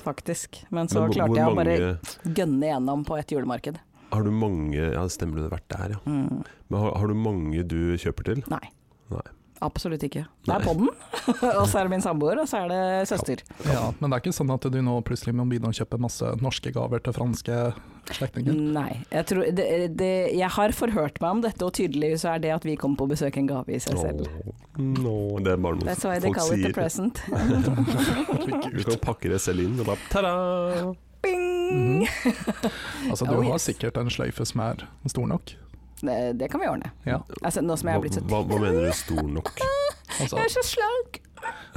S2: Faktisk. Men så
S1: hvor-
S2: klarte
S1: hvor
S2: jeg å bare
S1: mange,
S2: gønne gjennom på et julemarked.
S1: Har du mange Ja, det stemmer, du har vært der, ja.
S2: Mm.
S1: Men har, har du mange du kjøper til?
S2: Nei.
S1: Nei.
S2: Absolutt ikke. Det
S1: Nei.
S2: er podden, [LAUGHS] og så er det min samboer, og så er det søster.
S3: Ja, men det er ikke sånn at du nå plutselig må begynne å kjøpe masse norske gaver til franske slektninger?
S2: Nei. Jeg, tror, det, det, jeg har forhørt meg om dette, og tydeligvis så er det at vi kommer på besøk en gave i seg selv.
S1: Åh, nå, det er bare noe
S2: That's why they
S1: folk
S2: call it
S1: sier. [LAUGHS]
S2: the present.
S1: Du kan pakke det selv inn, og da ta-da!
S2: Bing!
S3: Mhm. Altså, du
S2: Oh,
S3: har
S2: yes.
S3: sikkert en sløyfe som er stor nok.
S2: Det, det kan vi ordne.
S3: Ja.
S2: Altså, nå som jeg er blitt så
S1: Hva, hva mener du stor nok?
S3: Altså,
S2: [LAUGHS] Jeg er så slank!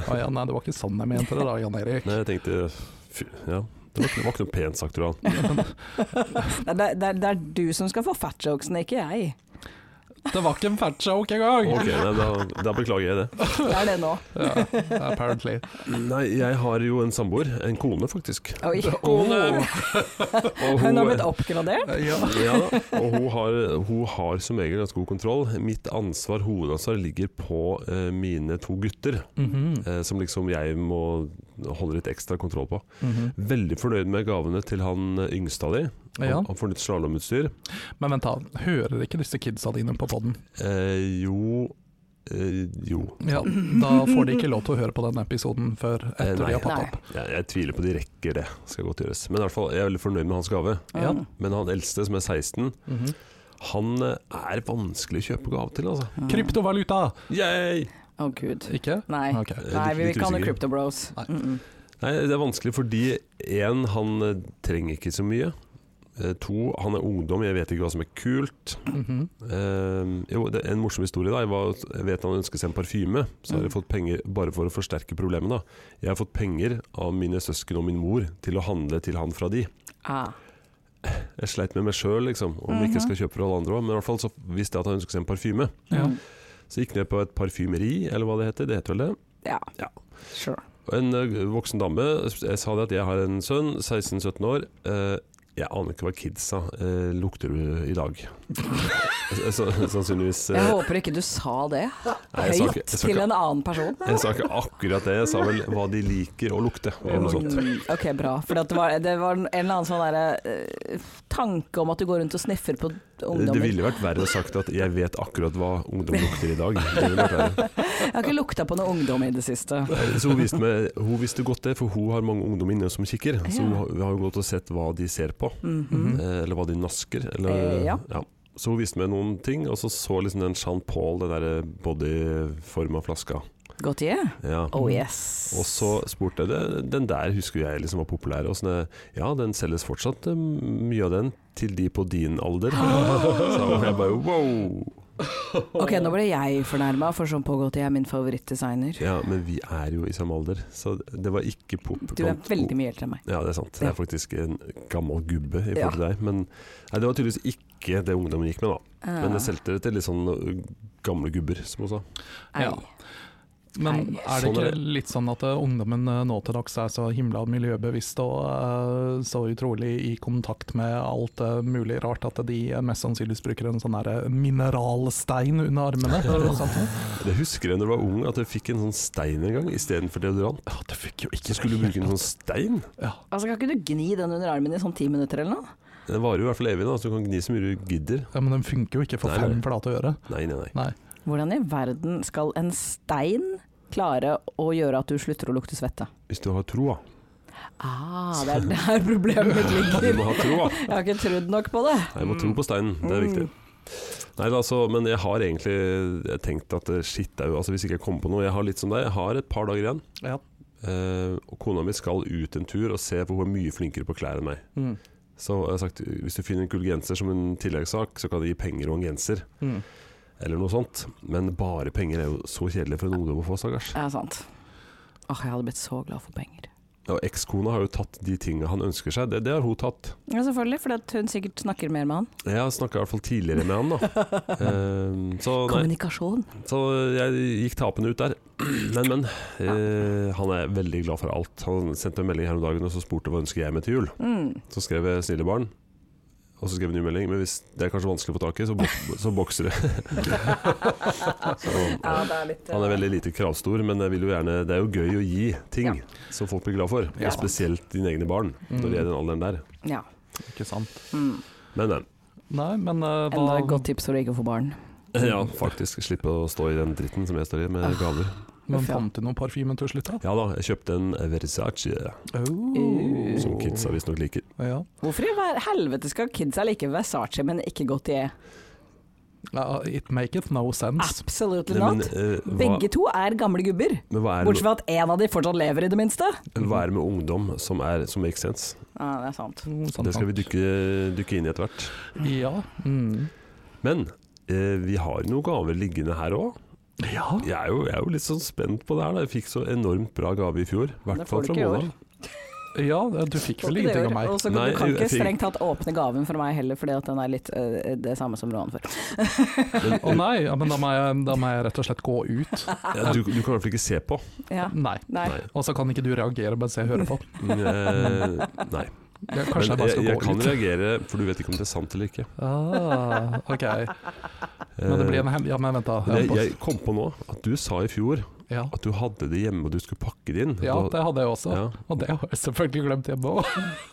S3: å ja, nei, det var ikke sånn jeg mente det da, Jan Erik.
S1: Nei, jeg tenkte fy, Ja. Det var, ikke- det var ikke noe pent sagt, Roan.
S2: Nei, Det, det, det er du som skal få fat jokesene, ikke jeg.
S3: Det var ikke en fat joke engang!
S1: Ok, nei, da, da beklager jeg det.
S2: Det er det
S1: [LAUGHS]
S2: nå.
S3: Ja, apparently.
S1: Nei, jeg har jo en samboer. En kone, faktisk.
S2: Oi.
S1: Og
S2: [LAUGHS] Hun har blitt oppgradert.
S1: [LAUGHS]
S3: Ja.
S1: Ja, da. og hun har, hun har som regel ganske god kontroll. Mitt ansvar, hovedansvar ligger på eh, mine to gutter,
S3: Mhm,
S1: eh, som liksom jeg må holde litt ekstra kontroll på.
S3: mhm.
S1: Veldig fornøyd med gavene til han eh, yngste av de. Han,
S3: ja.
S1: han får nytt slalåmutstyr.
S3: Men vent, da. Hører ikke disse kidsa dine på poden?
S1: Eh, jo eh, Jo.
S3: Ja, da får de ikke lov til å høre på den episoden før
S1: Eh,
S3: etter
S1: nei.
S3: de har tatt opp.
S1: Jeg, jeg tviler på de rekker det, skal godt gjøres. Men i hvert fall, jeg er veldig fornøyd med hans gave.
S3: Ja.
S2: Mm.
S1: Men han eldste, som er 16,
S3: Mhm.
S1: han eh, er vanskelig å kjøpe gave til, altså.
S2: Mm.
S3: Kryptovaluta!
S1: Yay!
S2: Å gud.
S3: Ikke?
S2: Nei.
S3: Ok.
S1: Eh,
S2: Nei, vi vil
S1: Litt
S2: ikke ha noe
S1: usikker.
S2: Crypto Bros.
S3: Nei.
S2: Mm-mm.
S1: Nei, det er vanskelig fordi én, han eh, trenger ikke så mye. Eh, To, han er ungdom, jeg vet ikke hva som er kult.
S3: Mhm.
S1: Eh, jo, det er en morsom historie. da Jeg, var, jeg vet han ønsker seg en parfyme, så
S2: Mm.
S1: har jeg fått penger bare for å forsterke problemet. da Jeg har fått penger av mine søsken og min mor til å handle til han fra de.
S2: Ah.
S1: Jeg sleit med meg sjøl, liksom, om
S2: Mhm.
S1: jeg ikke skal kjøpe for alle andre òg, men i hvert fall så visste jeg at han ønsket seg en parfyme.
S3: Ja.
S2: Mm.
S1: Så jeg gikk ned på et parfymeri, eller hva det heter. Det heter vel det.
S2: Ja.
S1: Ja.
S2: Sure.
S1: Og En ø, voksen dame jeg sa det at jeg har en sønn, 16-17 år. eh, jeg aner ikke hva kidsa eh, lukter du i dag. [LAUGHS] Så, sannsynligvis eh,
S2: Jeg håper ikke du sa det
S1: nei, jeg sa
S2: høyt
S1: ikke- jeg sa
S2: til
S1: ikke- Eh,
S2: en annen person.
S1: Jeg sa ikke akkurat det, jeg sa vel hva de liker å lukte. Eller noe sånt.
S2: Mm, Ok, bra. For at det, var, det var en eller annen sånn derre eh, tanke om at du går rundt og sniffer
S1: Eh,
S2: på
S1: Det
S2: ungdommer.
S1: ville vært verre sagt at 'jeg vet akkurat hva ungdom lukter i dag'. Det ville vært verre.
S2: Jeg har ikke lukta på noe ungdom i det siste.
S1: Eh, Så hun visste, meg, hun visste godt det, for hun har mange ungdom inne som kikker. Så hun har- hun har jo gått og sett hva de ser på.
S2: Mhm.
S1: Eh, Eller hva de nasker. Eller,
S2: Eh, ja.
S1: Så hun viste meg noen ting, og så så liksom den Jean Paul, den der bodyforma flaska.
S2: Gautier?
S1: Ja.
S2: Oh yes.
S1: Og så spurte jeg det, den der husker jeg liksom var populær. Og sånn, eh, ja, den selges fortsatt, eh, mye av den, til de på din alder.
S2: Ah.
S1: [LAUGHS] Så jeg bare wow!
S2: Ok, nå ble jeg fornærma, for sånn på Gautier er min favorittdesigner.
S1: Ja, men vi er jo i samme alder, så det var ikke pop.
S2: Du er veldig mye eldre enn meg.
S1: Ja, det er sant. Jeg er faktisk en gammel gubbe i forhold til deg. Men nei, det var tydeligvis ikke det ungdommen
S2: Ah,
S1: gikk med, da. Men jeg solgte det til litt sånn uh, gamle gubber, som hun sa.
S2: Ei.
S3: Ja. Men
S2: Nei,
S3: er det
S1: sånn er
S3: ikke
S1: det.
S3: litt sånn at eh, ungdommen eh, nå til dags er så himla miljøbevisst og eh, så utrolig i kontakt med alt eh, mulig rart at de eh, mest sannsynligvis bruker en sånn der eh, mineralstein under armene? eller noe sånt?
S1: Det husker jeg når du var ung, at du fikk en sånn stein en gang istedenfor deodorant.
S3: Ja, det fikk jo
S1: Så skulle du bruke en sånn stein.
S3: Ja.
S2: Altså, Kan ikke du gni den under armen i sånn ti minutter eller noe?
S1: Den varer jo i hvert fall evig, da, så du kan gni så mye du gidder.
S3: ja, men den funker jo ikke for
S1: Nei, nei.
S3: fem flate øre.
S1: Nei, nei, nei.
S3: Nei.
S2: Hvordan i verden skal en stein klare å gjøre at du slutter å lukte svette?
S1: Hvis du har troa.
S2: Ah, det er der problemet mitt
S1: Du
S2: ligger.
S1: må ha troa.
S2: Jeg har ikke trodd nok på det.
S1: Nei, Jeg må tro på steinen, det er viktig. Nei, da, altså, men jeg har egentlig jeg tenkt at eh, shit au, altså, hvis ikke jeg kommer på noe Jeg har litt som deg, jeg har et par dager igjen.
S3: Ja.
S1: Eh, og kona mi skal ut en tur og se på hun er mye flinkere på klær enn meg.
S3: Mm.
S1: Så jeg har sagt hvis du finner en kul genser som en tilleggssak, så kan du gi penger og en genser.
S3: Mm.
S1: Eller noe sånt. Men bare penger er jo så kjedelig for en ungdom å få, stakkars.
S2: Det er sant. Åh, jeg hadde blitt så glad for penger.
S1: Ja, og Ekskona har jo tatt de tinga han ønsker seg, det, det har hun tatt.
S2: Ja, selvfølgelig, fordi at hun sikkert snakker mer med han.
S1: Jeg har snakka i hvert fall tidligere med han, da. Eh, så, nei,
S2: Kommunikasjon.
S1: så jeg gikk tapende ut der. [CLEARS THROAT] Men, men. eh, han er veldig glad for alt. Han sendte en melding her om dagen og så spurte hva ønsker jeg meg til jul.
S2: Mm.
S1: Så skrev jeg 'snille barn', og så skrev jeg en ny melding. Men hvis det er kanskje vanskelig å få tak i, så,
S3: [LAUGHS]
S1: bok så bokser det. så,
S2: Ja, det er litt eh,
S1: han er veldig lite kravstor, men jeg vil jo gjerne, det er jo gøy å gi ting som folk blir glad for.
S3: Ja.
S1: Og spesielt dine egne barn, når de er i den alderen der.
S2: Ja.
S3: Ikke sant.
S2: Mm.
S1: Men, men.
S3: Nei, men eh,
S2: Enda et
S3: hva,
S2: godt tips for å ikke få barn.
S3: Mm.
S1: Ja, faktisk. Slippe å stå i den dritten som jeg står i, med
S3: Ah.
S1: gaver.
S3: men fant du noen parfyme til slutt, da?
S1: Ja da, jeg kjøpte en Versace,
S2: Uh.
S3: Oh.
S1: som kidsa visstnok liker.
S3: Ja.
S2: Hvorfor i hver- helvete skal kidsa like Versace, men ikke Gautier?
S3: Ja, it maketh no sense.
S2: Ah. Absolutely
S1: Nei, men,
S2: not.
S1: eh, hva,
S2: Begge to er gamle gubber,
S1: men hva er, det
S2: bortsett fra at en av de fortsatt lever, i det minste.
S1: med, hva er det med ungdom som, er, som makes sense?
S2: Ja, det er sant.
S3: Mm, sant,
S1: Det skal vi
S3: sant.
S1: dykke, dykke inn i etter hvert.
S3: Ja. Mm.
S1: Men eh, vi har noen gaver liggende her òg.
S3: ja.
S1: Jeg, er jo- jeg er jo litt sånn spent på det her. Da. Jeg fikk så enormt bra gave i fjor. I
S2: Det
S1: hvert
S2: får
S1: fall
S2: du
S1: fra
S2: ikke i år.
S1: Mona.
S3: Ja, du fikk vel ingenting av meg.
S2: Og så
S1: Nei,
S2: du kan
S1: jeg-
S2: ikke
S1: jeg fikk-
S2: strengt tatt åpne gaven for meg heller, fordi at den er litt øh, det samme som Roan før.
S1: Men,
S3: Å nei, ja, men da må, jeg, da må jeg rett og slett gå ut.
S1: ja, du, du kan i hvert fall ikke se på.
S2: Ja.
S3: Nei.
S2: Nei.
S1: Nei.
S3: Og så kan ikke du reagere mens jeg hører på.
S1: Men, eh, nei.
S3: Jeg,
S1: Men
S3: [LAUGHS] kanskje jeg bare
S1: jeg,
S3: skal
S1: jeg kan
S3: gå ut.
S1: reagere, for du vet ikke om det er sant eller ikke. Eh,
S3: Ah, ok. Men det blir en hem... Ja, men vent, da.
S1: jeg,
S3: Jeg må-
S1: jeg kom på nå at du sa i fjor
S3: Ja.
S1: at du hadde det hjemme og du skulle pakke det inn.
S3: ja,
S1: Da-
S3: det hadde jeg også.
S1: ja.
S3: Og det har jeg selvfølgelig glemt hjemme òg.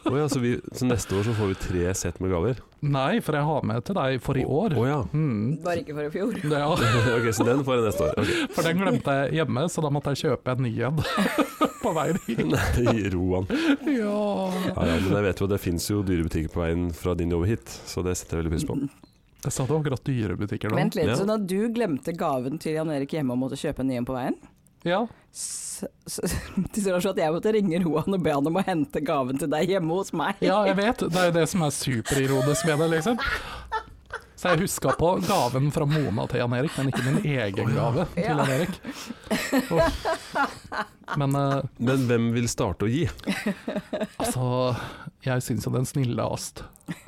S1: Å ja, så, vi, så neste år så får vi tre sett med gaver?
S3: Nei, for jeg har med til deg for i år.
S1: Å ja. [LAUGHS]
S3: Mm.
S2: Bare ikke for i fjor.
S3: Det, ja.
S1: ok, Så den får jeg neste år. Ok.
S3: For den glemte jeg hjemme, så da måtte jeg kjøpe en ny en [LAUGHS] på vei dit.
S1: Nei, Roan.
S3: Ja.
S1: Ja, ja, men jeg vet jo at det fins jo dyre butikker på veien fra din jobb hit, så det setter jeg veldig pris på.
S3: Jeg sa det var akkurat dyrebutikker nå.
S2: Vent litt,
S1: Ja.
S2: så da du glemte gaven til Jan Erik hjemme og måtte kjøpe en ny en på veien,
S3: Ja.
S2: s- s- [LAUGHS] til sånn at jeg måtte ringe Roan og be han om å hente gaven til deg hjemme hos meg.
S3: Ja,
S2: [LAUGHS]
S3: jeg vet. Det er jo det som er superironisk med det, liksom. Så jeg huska på gaven fra Mona til Jan Erik, men ikke min egen gave til
S2: Ja.
S3: Jan Erik. Uff. Men eh,
S1: Men hvem vil starte å gi?
S3: altså, jeg syns jo den snillest,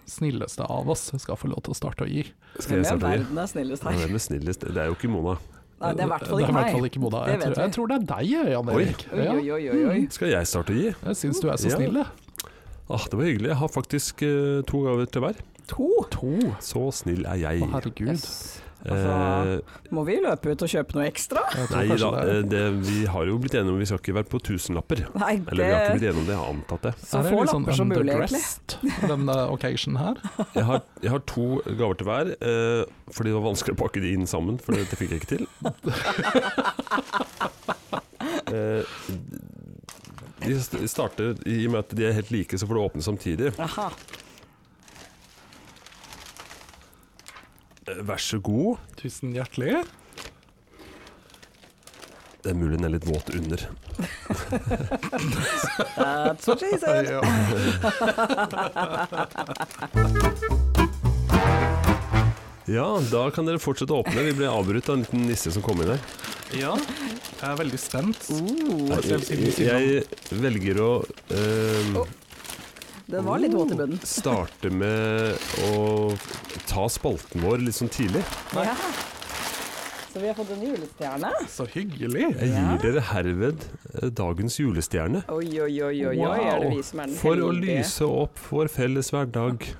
S3: snilleste av oss skal få lov til å starte å gi.
S1: Skal
S2: Hvem
S1: jeg
S2: i
S1: starte å gi?
S2: verden er snillest
S1: Ja,
S2: her?
S1: Hvem er snillest? Det er jo ikke Mona.
S2: Nei, det er i hvert fall ikke
S3: Det er i hvert
S2: meg.
S3: fall ikke Mona.
S2: Det
S3: Jeg,
S2: vet
S3: tror, jeg tror det er deg, Jan
S1: Oi.
S3: Erik.
S2: Oi,
S3: Ja, Mm,
S2: oi, oi, oi.
S1: Skal jeg starte å gi?
S3: jeg syns du er så
S1: Ja.
S3: snill, jeg.
S1: Ah, det var hyggelig. Jeg har faktisk eh, to gaver til hver.
S2: To?
S3: To.
S1: Så snill er
S3: Å,
S1: jeg.
S3: herregud.
S2: Yes.
S1: Eh,
S2: Altså, Må vi løpe ut og kjøpe noe ekstra?
S3: Jeg tror
S1: nei da,
S3: kanskje det
S1: eh,
S3: er-
S1: det, vi har jo blitt enige om vi skal ikke være på tusenlapper.
S2: Nei,
S1: Eller vi har ikke
S2: det
S1: blitt enige om det, jeg har antatt det.
S2: Så
S3: er det
S2: få
S3: litt sånn
S2: lapper som mulig, egentlig.
S3: underdressed, denne occasion her.
S1: Jeg har, jeg har to gaver til hver, eh, fordi det var vanskelig å pakke de inn sammen, for det, det fikk jeg ikke [LAUGHS] til. Eh, de st- starter i og med at de er helt like, så får du åpne samtidig.
S2: Aha.
S1: Eh, Vær så god.
S3: Tusen hjertelig.
S1: Det er mulig den er litt våt under.
S2: That's what she said.
S1: Ja, da kan dere fortsette å åpne. Vi ble avbrutt av en liten nisse som kom inn her.
S3: Ja, jeg er veldig spent.
S2: Uh,
S1: Jeg, jeg velger å eh,
S2: den var litt våt i bunnen.
S1: starte
S3: Oh,
S1: med å ta spalten vår litt sånn tidlig.
S2: Ja. Så vi har fått en julestjerne.
S3: Så hyggelig!
S1: Jeg
S2: Ja.
S1: gir dere herved eh, dagens julestjerne.
S2: Oi, oi, oi, oi, oi, er det vi som er den
S1: For å
S2: heldige?
S1: lyse opp vår felles hverdag.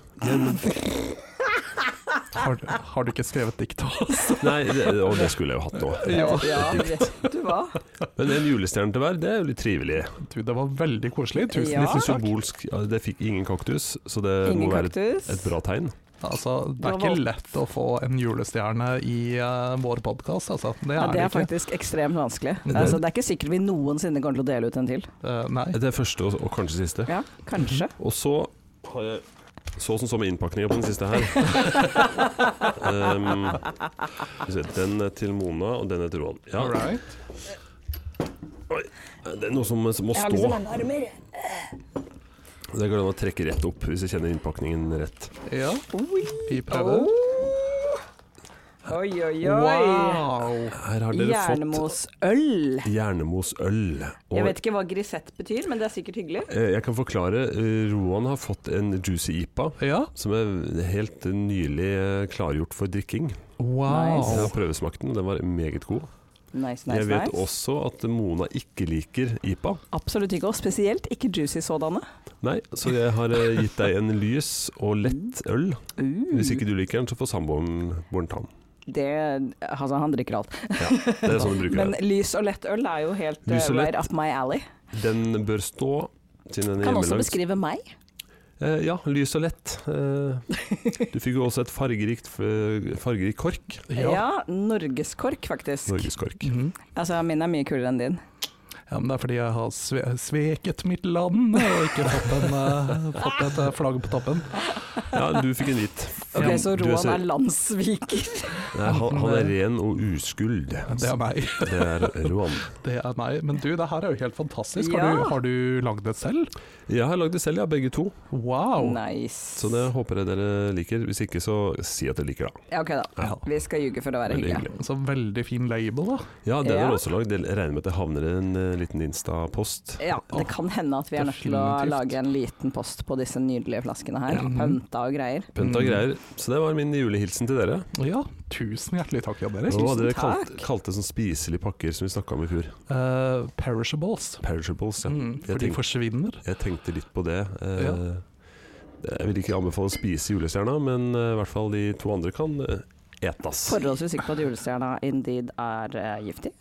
S3: Har, har du ikke skrevet dikt til oss?
S1: Nei, det, og det skulle jeg jo hatt nå.
S2: Ja, vet du hva.
S1: Men en julestjerne til hver, det er jo litt trivelig.
S3: [LAUGHS] Du, det var veldig koselig. Tusen
S2: Ja.
S1: Litt sånn
S3: hjertelig takk.
S1: symbolsk. ja, Det fikk ingen kaktus, så det
S2: Ingen
S1: må være et,
S2: kaktus.
S1: et bra tegn.
S3: Altså, det er
S2: Da var-
S3: ikke lett å få en julestjerne i eh, vår podkast, altså. Det
S2: Ja, det
S3: er det
S2: er
S3: ikke.
S2: faktisk ekstremt vanskelig.
S1: Det-
S2: Altså, det er ikke sikkert vi noensinne kommer til å dele ut en til.
S3: Eh, nei.
S1: Det er første og, og kanskje siste.
S2: Ja, kanskje.
S1: Og så har jeg så som så med innpakninga på den siste
S2: [LAUGHS]
S1: her. um, skal vi se, den er til Mona, og den er til Roan. Ja,
S3: All right.
S1: Eh, det er noe som, som må
S2: Jeg
S1: stå.
S2: har liksom en armer.
S1: Det går an å trekke rett opp hvis jeg kjenner innpakningen rett.
S3: Ja,
S2: Oi,
S3: vi prøver.
S2: oi, oi. oi.
S3: Wow!
S1: Her har dere
S2: Jernmosøl.
S1: fått Jernemos-øl.
S2: Jeg
S1: Og
S2: vet ikke hva grisett betyr, men det er sikkert hyggelig.
S1: eh, jeg kan forklare. eh, Roan har fått en juicy ipa.
S3: Ja,
S1: Som er helt nylig eh, klargjort for drikking.
S3: wow.
S1: Jeg
S2: Nice.
S1: har prøvesmakt den, og den var meget god.
S2: Nice, nice,
S1: jeg vet
S2: nice.
S1: også at Mona ikke liker IPA.
S2: Absolutt ikke, og spesielt ikke juicy sådanne.
S1: Nei, så jeg har eh, gitt deg en lys og lett øl.
S2: Uh,
S1: Hvis ikke du liker den, så får samboeren vår ta den.
S2: det, altså, han drikker alt.
S1: Det er sånn du bruker
S2: Men
S1: den.
S2: lys og lett øl er jo helt uh,
S1: Lys og lett.
S2: right up my alley.
S1: Den bør stå. Siden den er
S2: Kan også
S1: hjemmelagd.
S2: beskrive meg.
S1: Eh, ja, lys og lett. Eh, du fikk jo også et fargerikt eh, fargerik kork.
S2: Ja, norgeskork faktisk.
S1: Norgeskork.
S3: Mhm.
S2: Altså, min er mye kulere enn din.
S3: Ja, men det er fordi jeg har sve sveket mitt land og ikke fått, en, eh, fått et eh, flagg på toppen.
S1: Ja, du fikk en hvit.
S2: Ok,
S1: Ja,
S2: Så
S1: du
S2: Roan
S1: ser-
S2: er landssviker.
S1: [LAUGHS] Nei, han, han er ren og uskuld.
S3: Det er meg.
S1: Det er Roan.
S3: Det er meg. Men du, det her er jo helt fantastisk. Har
S2: Ja.
S3: du, har du lagd det selv?
S1: Jeg har lagd det selv, ja, begge to.
S3: Wow!
S2: Nice.
S1: Så det håper jeg dere liker. Hvis ikke, så si at dere liker det.
S2: Ja, ok da.
S3: Ja.
S2: Vi skal ljuge for å være
S1: Veldig
S2: hyggelige.
S3: Så veldig fin label, da.
S1: Ja, den
S2: Ja.
S1: har jeg også lagd. Jeg regner med at det havner i en eh, liten Insta-post.
S2: Ja, det kan hende at vi er nødt til å
S3: Definitivt.
S2: lage en liten post på disse nydelige flaskene her.
S3: Ja.
S2: Pønta og greier.
S1: Pønt og greier. Så det var min julehilsen til dere.
S3: Ja, tusen hjertelig takk, Jan
S1: Det
S3: Erik.
S1: var det dere
S2: takk.
S1: kalte, kalte sånn spiselige pakker som vi snakka om i fjor.
S3: Eh, perishables.
S1: Perishables. Ja.
S3: Mm, for
S1: Jeg
S3: de
S1: tenk-
S3: forsvinner.
S1: Jeg tenkte litt på det. eh, Jeg vil ikke anbefale å spise julestjerna, men eh, i hvert fall de to andre kan eh, etas.
S2: Forholdsvis sikker på at julestjerna indeed er eh, giftig.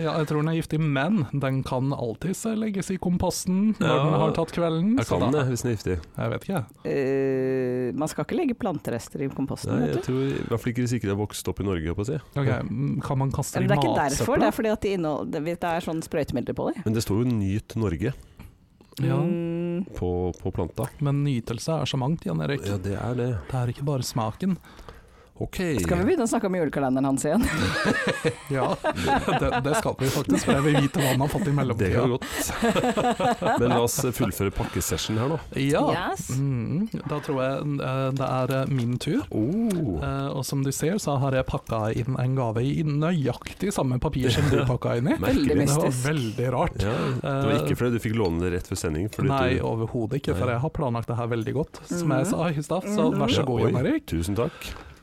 S3: Ja, jeg tror den er giftig, men den kan alltids legges i komposten når
S1: Ja.
S3: den har tatt kvelden.
S1: Jeg
S3: så
S1: kan det
S3: da-
S1: hvis den er giftig.
S3: Jeg vet ikke, jeg.
S2: Eh, man skal ikke legge planterester i komposten,
S1: Nei, jeg
S2: vet du.
S1: tror i hvert fall ikke de sikre har vokst opp i Norge, holdt jeg på å si.
S3: Ok, mm, Kan man
S2: Ja,
S3: kaste det
S2: men
S3: i
S2: det er ikke derfor, det
S3: matsøpla?
S2: er fordi at de innehold- det det er sånn sprøytemidler på dem.
S1: Men det står jo 'Nyt Norge'
S3: Ja,
S2: Mm,
S1: på, på planta.
S3: men nytelse er så mangt, Jan Erik.
S1: Ja, det er det.
S3: Det er ikke bare smaken.
S1: Ok.
S2: skal vi begynne å snakke om julekalenderen hans igjen?
S3: Ja,
S1: [LAUGHS]
S3: [LAUGHS] det, det skal vi faktisk, for jeg vil vite hva man har fått i
S1: Det kan vi
S3: mellomtida.
S1: godt. Men la oss eh, fullføre pakkesession her nå.
S3: Ja.
S2: Yes.
S3: Mm, da tror jeg eh, det er eh, min tur.
S1: Oh.
S3: Eh, og som du ser, så har jeg pakka inn en gave i nøyaktig samme papir som
S1: [LAUGHS]
S3: du pakka inn i.
S1: Merkelig.
S2: Veldig
S3: Det var
S2: mystisk.
S3: veldig rart. Eh,
S1: Ja, det var ikke fordi du fikk låne det rett før sending. Fordi
S3: Nei,
S1: du,
S3: overhodet ikke, for
S1: Nei.
S3: jeg har planlagt det her veldig godt. Som jeg sa i stad, så vær
S1: Ja,
S3: så god,
S1: oi,
S3: Jan Erik.
S1: Tusen takk.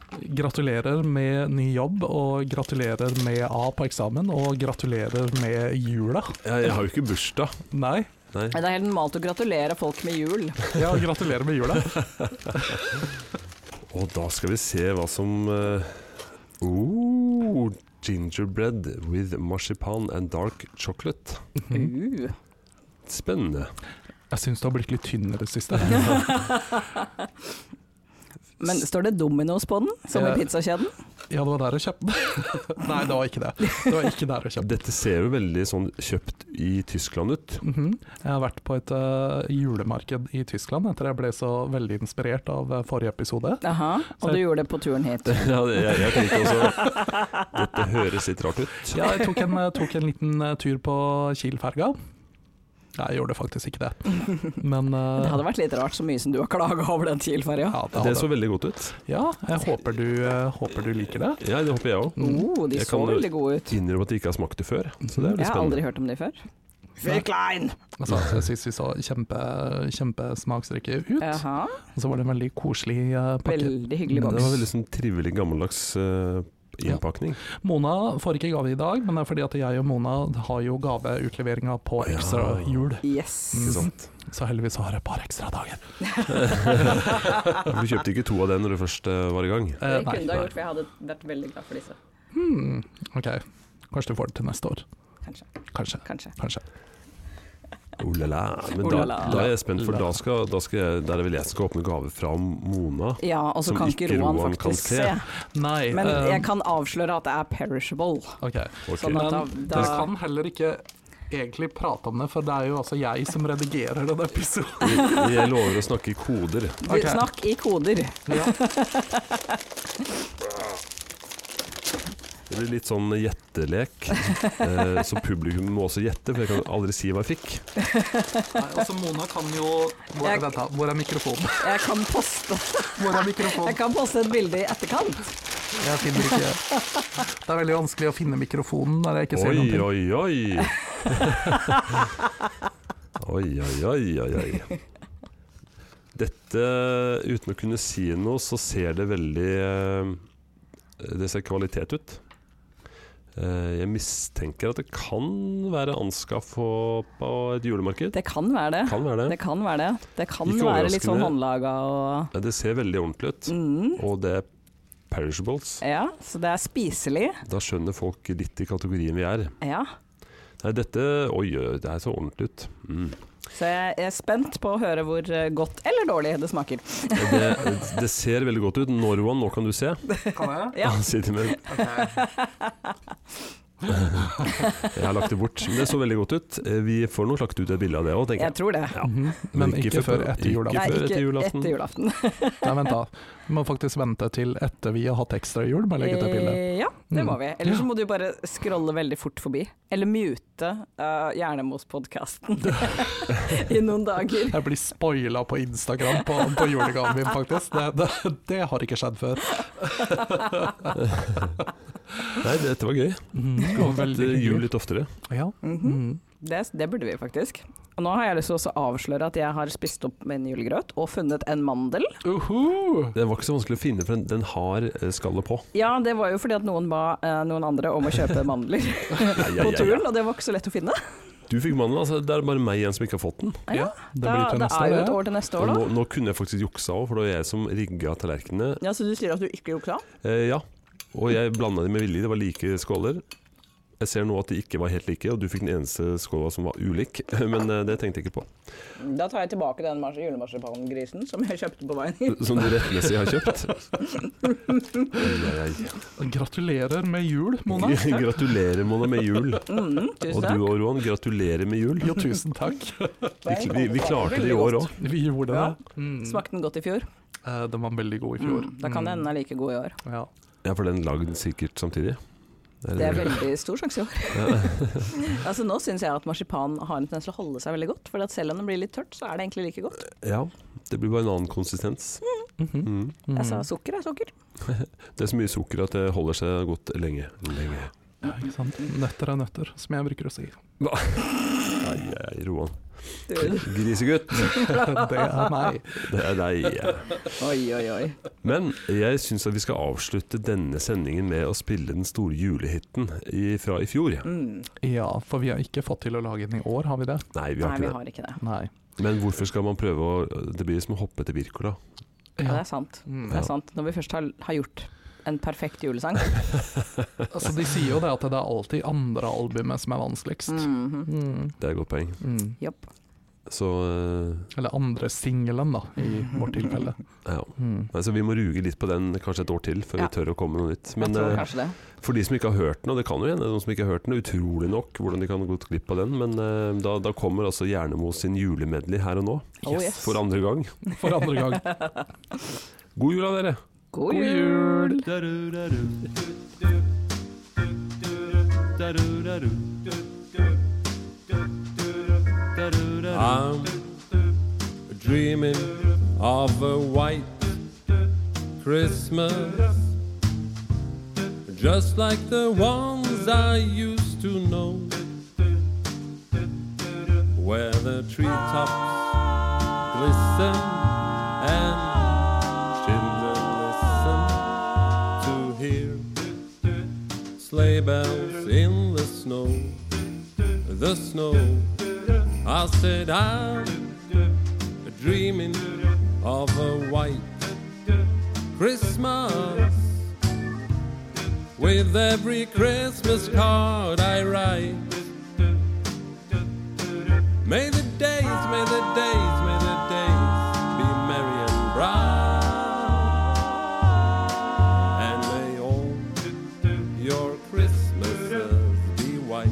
S3: Gratulerer med ny jobb, og gratulerer med A på eksamen, og gratulerer med jula.
S1: Jeg, jeg har jo ikke bursdag.
S3: Nei,
S1: Nei.
S2: Det er helt normalt å gratulere folk med jul.
S3: ja, gratulerer med jula.
S1: Og da skal vi se hva som eh, oh, Gingerbread with marsipan and dark chocolate. [LAUGHS] Mhm.
S2: Uh.
S1: Spennende.
S3: Jeg syns du har blitt litt tynn i det siste.
S2: Men står det Dominos på den, som i
S3: Ja.
S2: pizzakjeden?
S3: Ja, det var der jeg kjøpte den. [LAUGHS] Nei, det var ikke det. Det var ikke der jeg kjøpte den.
S1: Dette ser jo veldig sånn kjøpt i Tyskland ut.
S3: Mhm. Jeg har vært på et øh, julemarked i Tyskland etter jeg ble så veldig inspirert av øh, forrige episode.
S2: Aha, og
S3: Så-
S2: du gjorde det på turen hit.
S1: [LAUGHS] ja, det- jeg, jeg tenkte også [LAUGHS] Dette høres litt rart ut.
S3: Ja, jeg tok en, eh, tok en liten eh, tur på Kiel-ferga. Nei, jeg gjorde faktisk ikke det. Men eh,
S2: Det hadde vært litt rart så mye som du har klaga over den Kiel-ferja.
S3: ja, det
S1: Det
S3: hadde.
S1: så veldig godt ut.
S3: ja, jeg håper du, eh, håper du liker det.
S1: Ja, det håper jeg òg.
S3: Mm.
S2: Oh, de
S1: Jeg
S2: så
S1: kan jo-
S2: veldig gode ut.
S1: Innrømmer at jeg ikke har smakt det før. Så det er
S2: Jeg
S1: veldig
S2: har aldri
S1: spennende.
S2: hørt om de før. Virklein!
S3: Altså, jeg syns vi så kjempe, kjempesmaksrike ut.
S2: Jaha,
S3: Og så var det en veldig koselig eh, pakke.
S2: veldig hyggelig
S1: Det
S2: boks.
S1: var veldig sånn trivelig gammeldags eh, innpakning.
S3: Mona får ikke gave i dag, men det er fordi at jeg og Mona har jo gaveutleveringa på
S1: Ja.
S3: ekstra jul.
S1: Ikke
S2: Yes.
S1: sant? [LAUGHS]
S3: Så heldigvis har jeg et par ekstra dager.
S1: Du kjøpte ikke to av det når du først eh, var i gang.
S3: Eh,
S4: Det
S3: nei,
S4: kunne du ha
S3: nei.
S4: gjort, for jeg hadde vært veldig glad for disse.
S3: Hmm, ok, kanskje du får det til neste år.
S4: Kanskje.
S3: Kanskje.
S4: Kanskje.
S3: Kanskje.
S1: Oh la la. Men
S2: Oh
S1: da,
S2: la la.
S1: da er jeg spent, for da skal, da skal jeg, der er vel jeg som skal åpne gave fra Mona.
S2: Ja, og så
S1: Som
S2: kan ikke
S1: ikke
S2: Roan
S1: Roan kan
S2: faktisk
S1: se.
S2: se.
S3: Nei.
S2: Men
S3: eh,
S2: jeg kan avsløre at det er perishable.
S3: ok.
S1: Ok.
S2: Sånn at da,
S3: Men
S2: da
S3: dere kan heller ikke egentlig prate om det, for det er jo altså jeg som redigerer denne episoden.
S1: Jeg jeg lover å snakke i koder.
S2: du,
S3: Ok.
S2: Snakk i koder.
S3: Ja.
S1: Det blir litt sånn gjettelek, eh, så publikum må også gjette, for jeg kan aldri si hva jeg fikk.
S3: Nei, altså Mona kan jo hvor,
S2: Jeg-
S3: Vent, da. Hvor er mikrofonen? [LAUGHS]
S2: Jeg kan poste,
S3: Hvor er
S2: jeg
S3: mikrofonen?
S2: kan poste et bilde i etterkant.
S3: Jeg finner ikke Det er veldig vanskelig å finne mikrofonen når jeg ikke ser
S1: Oi,
S3: noen ting.
S1: oi, oi!
S3: [LAUGHS]
S1: Oi, oi, oi, oi, oi. Dette, uten å kunne si noe, så ser det veldig eh, Det ser kvalitet ut. Eh, Jeg mistenker at det kan være anskaffa på et julemarked.
S2: Det kan være det.
S1: Kan være
S2: Det
S1: det.
S2: kan være det. Det kan
S1: Ikke
S2: være litt sånn
S1: overraskende.
S2: håndlaga og
S1: Det ser veldig ordentlig ut.
S2: mm,
S1: Og det er perishables.
S2: Ja, så det er spiselig.
S1: Da skjønner folk litt i kategorien vi er.
S2: Ja.
S1: Nei, dette Oi, oi, det er så ordentlig ut. Mm.
S2: Så jeg er spent på å høre hvor eh, godt eller dårlig det smaker.
S1: Det, det ser veldig godt ut. Norwan, nå kan du se.
S3: Kan jeg?
S2: Ja.
S1: Han sitter med Jeg har lagt det bort. Men det så veldig godt ut. Eh, Vi får nok lagt ut et bilde av det òg, tenker
S2: Jeg
S1: jeg.
S2: tror det.
S1: Ja.
S3: Mhm, Men ikke før
S1: Ikke
S3: etter
S2: Nei,
S3: julaften.
S1: før
S2: ikke
S1: etter julaften.
S2: etter julaften.
S3: Nei, vent da. Vi må faktisk vente til etter vi har hatt ekstra jul med å legge til bildet.
S2: Eh, Ja, det må
S3: Mm.
S2: vi. Eller
S3: Ja.
S2: så må du bare scrolle veldig fort forbi. Eller mute uh,
S3: [LAUGHS]
S2: Hjernemos-podkasten [LAUGHS] i noen dager.
S3: Jeg blir spoila på Instagram på, på julegaven min, faktisk. Det, det, det har ikke skjedd før.
S1: Nei, dette var gøy.
S3: Mhm, og
S1: Hatt
S3: veldig
S1: jul litt oftere.
S3: Ja.
S2: Mhm.
S3: Mhm.
S2: det, det burde vi faktisk. Og nå har jeg lyst til å også avsløre at jeg har spist opp min julegrøt og funnet en mandel.
S3: Uhu.
S1: Den var ikke så vanskelig å finne, for den, den har eh, skallet på.
S2: Ja, det var jo fordi at noen ba eh, noen andre om å
S1: [LAUGHS]
S2: kjøpe mandler
S1: Ja, ja, ja,
S2: på
S1: ja.
S2: turen, og det var ikke så lett å finne.
S1: Du fikk mandelen, altså. Det er bare meg igjen som ikke har fått den.
S2: Ja,
S3: det
S2: Da,
S3: blir til
S2: det
S3: neste
S2: er jo et
S3: år,
S2: år til neste
S1: Og
S2: år,
S1: nå,
S2: da.
S1: nå kunne jeg faktisk juksa òg, for det var jeg som rigga tallerkenene.
S2: Ja, Så du sier at du ikke juksa?
S1: Eh, ja, og jeg blanda de med vilje. Det var like skåler. Jeg ser nå at de ikke var helt like, og du fikk den eneste skåla som var ulik. [LAUGHS] Men eh, det tenkte jeg ikke på.
S2: Da tar jeg tilbake den mars- julemarsipangrisen som jeg kjøpte på veien hit.
S1: Som du rettmessig har kjøpt. Ai, ai,
S3: ja. Gratulerer med jul, Mona.
S1: ai. Gratulerer, Mona, med jul.
S2: Mm,
S1: Og
S2: tusen
S1: du
S2: takk.
S1: og Roan, gratulerer med jul.
S3: Jo, tusen takk.
S2: [LAUGHS]
S1: Vi, vi, vi klarte det i år òg.
S3: Vi gjorde
S2: Ja.
S3: det. Mm.
S2: Smakte den godt i fjor?
S3: Eh, Den var veldig god i fjor. Mm.
S2: Mm, da kan det hende den er like god i år.
S3: Ja.
S1: Ja, for den lagd sikkert samtidig. Det er-
S2: Det er veldig stor sjanse i år.
S1: [LAUGHS]
S2: altså Nå syns jeg at marsipan har en tendens til å holde seg veldig godt. For at selv om det blir litt tørt, så er det egentlig like godt.
S1: Ja, det blir bare en annen konsistens.
S3: Mhm.
S1: Mm.
S2: Jeg sa Altså, sukker er
S1: [LAUGHS]
S2: sukker.
S1: Det er så mye sukker at det holder seg godt lenge. lenge.
S3: Ja, ikke sant? Nøtter er nøtter, som jeg bruker å
S2: [LAUGHS]
S3: si.
S1: Ai, ai, ai, Roan.
S2: Du-
S1: Grisegutt,
S3: Det er meg.
S1: det er deg.
S2: Oi, oi, oi.
S1: Men jeg syns at vi skal avslutte denne sendingen med å spille den store julehiten i, fra i fjor.
S2: Mm.
S3: Ja, for vi har ikke fått til å lage den i år, har vi det?
S1: Nei, vi har
S2: Nei, vi
S1: ikke
S2: har ikke det.
S3: Nei.
S1: det. Men hvorfor skal man prøve å Det blir som å hoppe etter Wirkola.
S2: Ja, det
S3: Ja.
S2: er sant.
S3: Mm.
S2: Det er sant. Når vi først har, har gjort en perfekt julesang.
S3: Altså, de sier jo det at det er alltid andre albumet som er vanskeligst.
S2: Mhm.
S3: Mm.
S1: Det er et godt poeng.
S3: Mm.
S2: Jopp.
S1: Så eh,
S3: Eller andre singelen, da, i vårt tilfelle.
S1: ja.
S3: Mm.
S1: Nei, så vi må ruge litt på den kanskje et år til før
S2: Ja.
S1: vi tør å komme med noe nytt.
S2: Jeg
S1: Men
S2: tror
S1: eh,
S2: kanskje det.
S1: for de som ikke har hørt den, og det kan jo hende noen som ikke har hørt den, utrolig nok hvordan de kan ha gått glipp av den, men eh, da, da kommer altså Jernemo sin julemedley her og nå.
S2: Oh, yes.
S1: For andre gang.
S3: For andre gang.
S1: God jul, da, dere!
S2: God jul!
S1: I'm dreaming of a white Christmas, just like the ones I used to know, where the treetops glisten and children listen to hear
S5: sleigh bells in the snow, the snow. I said I'm dreaming of a white Christmas. With every Christmas card I write, may the days, may the days, may the days be merry and bright, and may all your Christmases be white.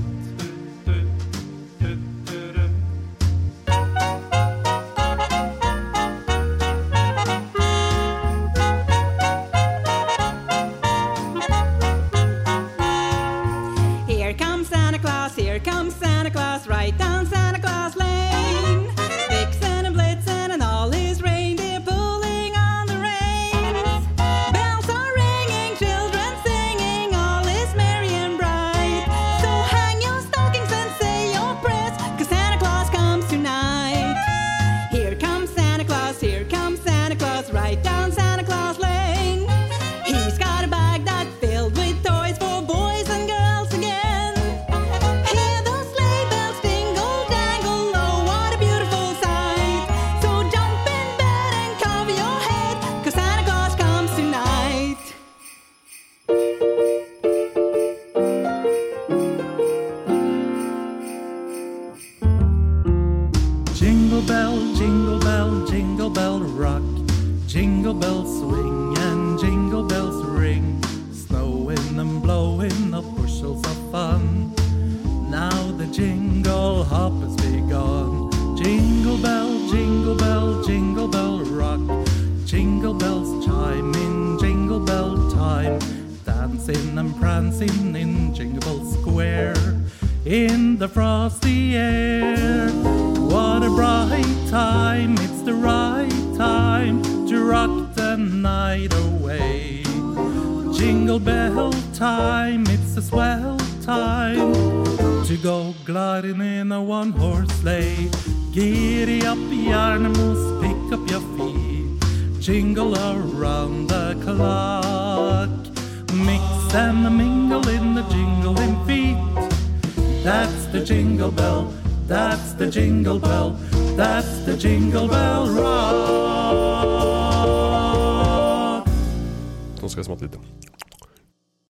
S6: Here comes Santa Claus, here comes Santa Claus, right down Santa Claus Lane. Vixen and Blitzen and all his reindeer pulling on the reins. Bells are ringing, children singing, all is merry and bright. So hang your stockings and say your prayers, cause Santa Claus comes tonight. Here comes Santa Claus, here comes Santa Claus, right down Santa Claus Lane. He's got a bag that's filled with toys for boys and girls again. Hear those sleigh bells dingle dangle, oh what a beautiful sight. So jump in bed and cover your head, cause Santa Claus comes tonight.
S7: [LAUGHS] Jingle bell, jingle bell, jingle bell rock. Jingle bells swing and jingle bells ring. Snowing and blowing up bushels of fun. Now the jingle hop has begun. Jingle bell, jingle bell, jingle bell rock. Jingle bells chime in jingle bell time. Dancing and prancing in Jingle Bell Square. In the frosty air. What a bright time, it's the right time to rock the night away. Jingle bell time, it's a swell time to go gliding in a one horse sleigh. Giddy up, yarnimals, pick up your feet, jingle around the clock. Mix and mingle in the jingling feet. That's the jingle bell, that's the jingle bell, that's the jingle bell rock.
S1: Nå skal jeg smatte litt.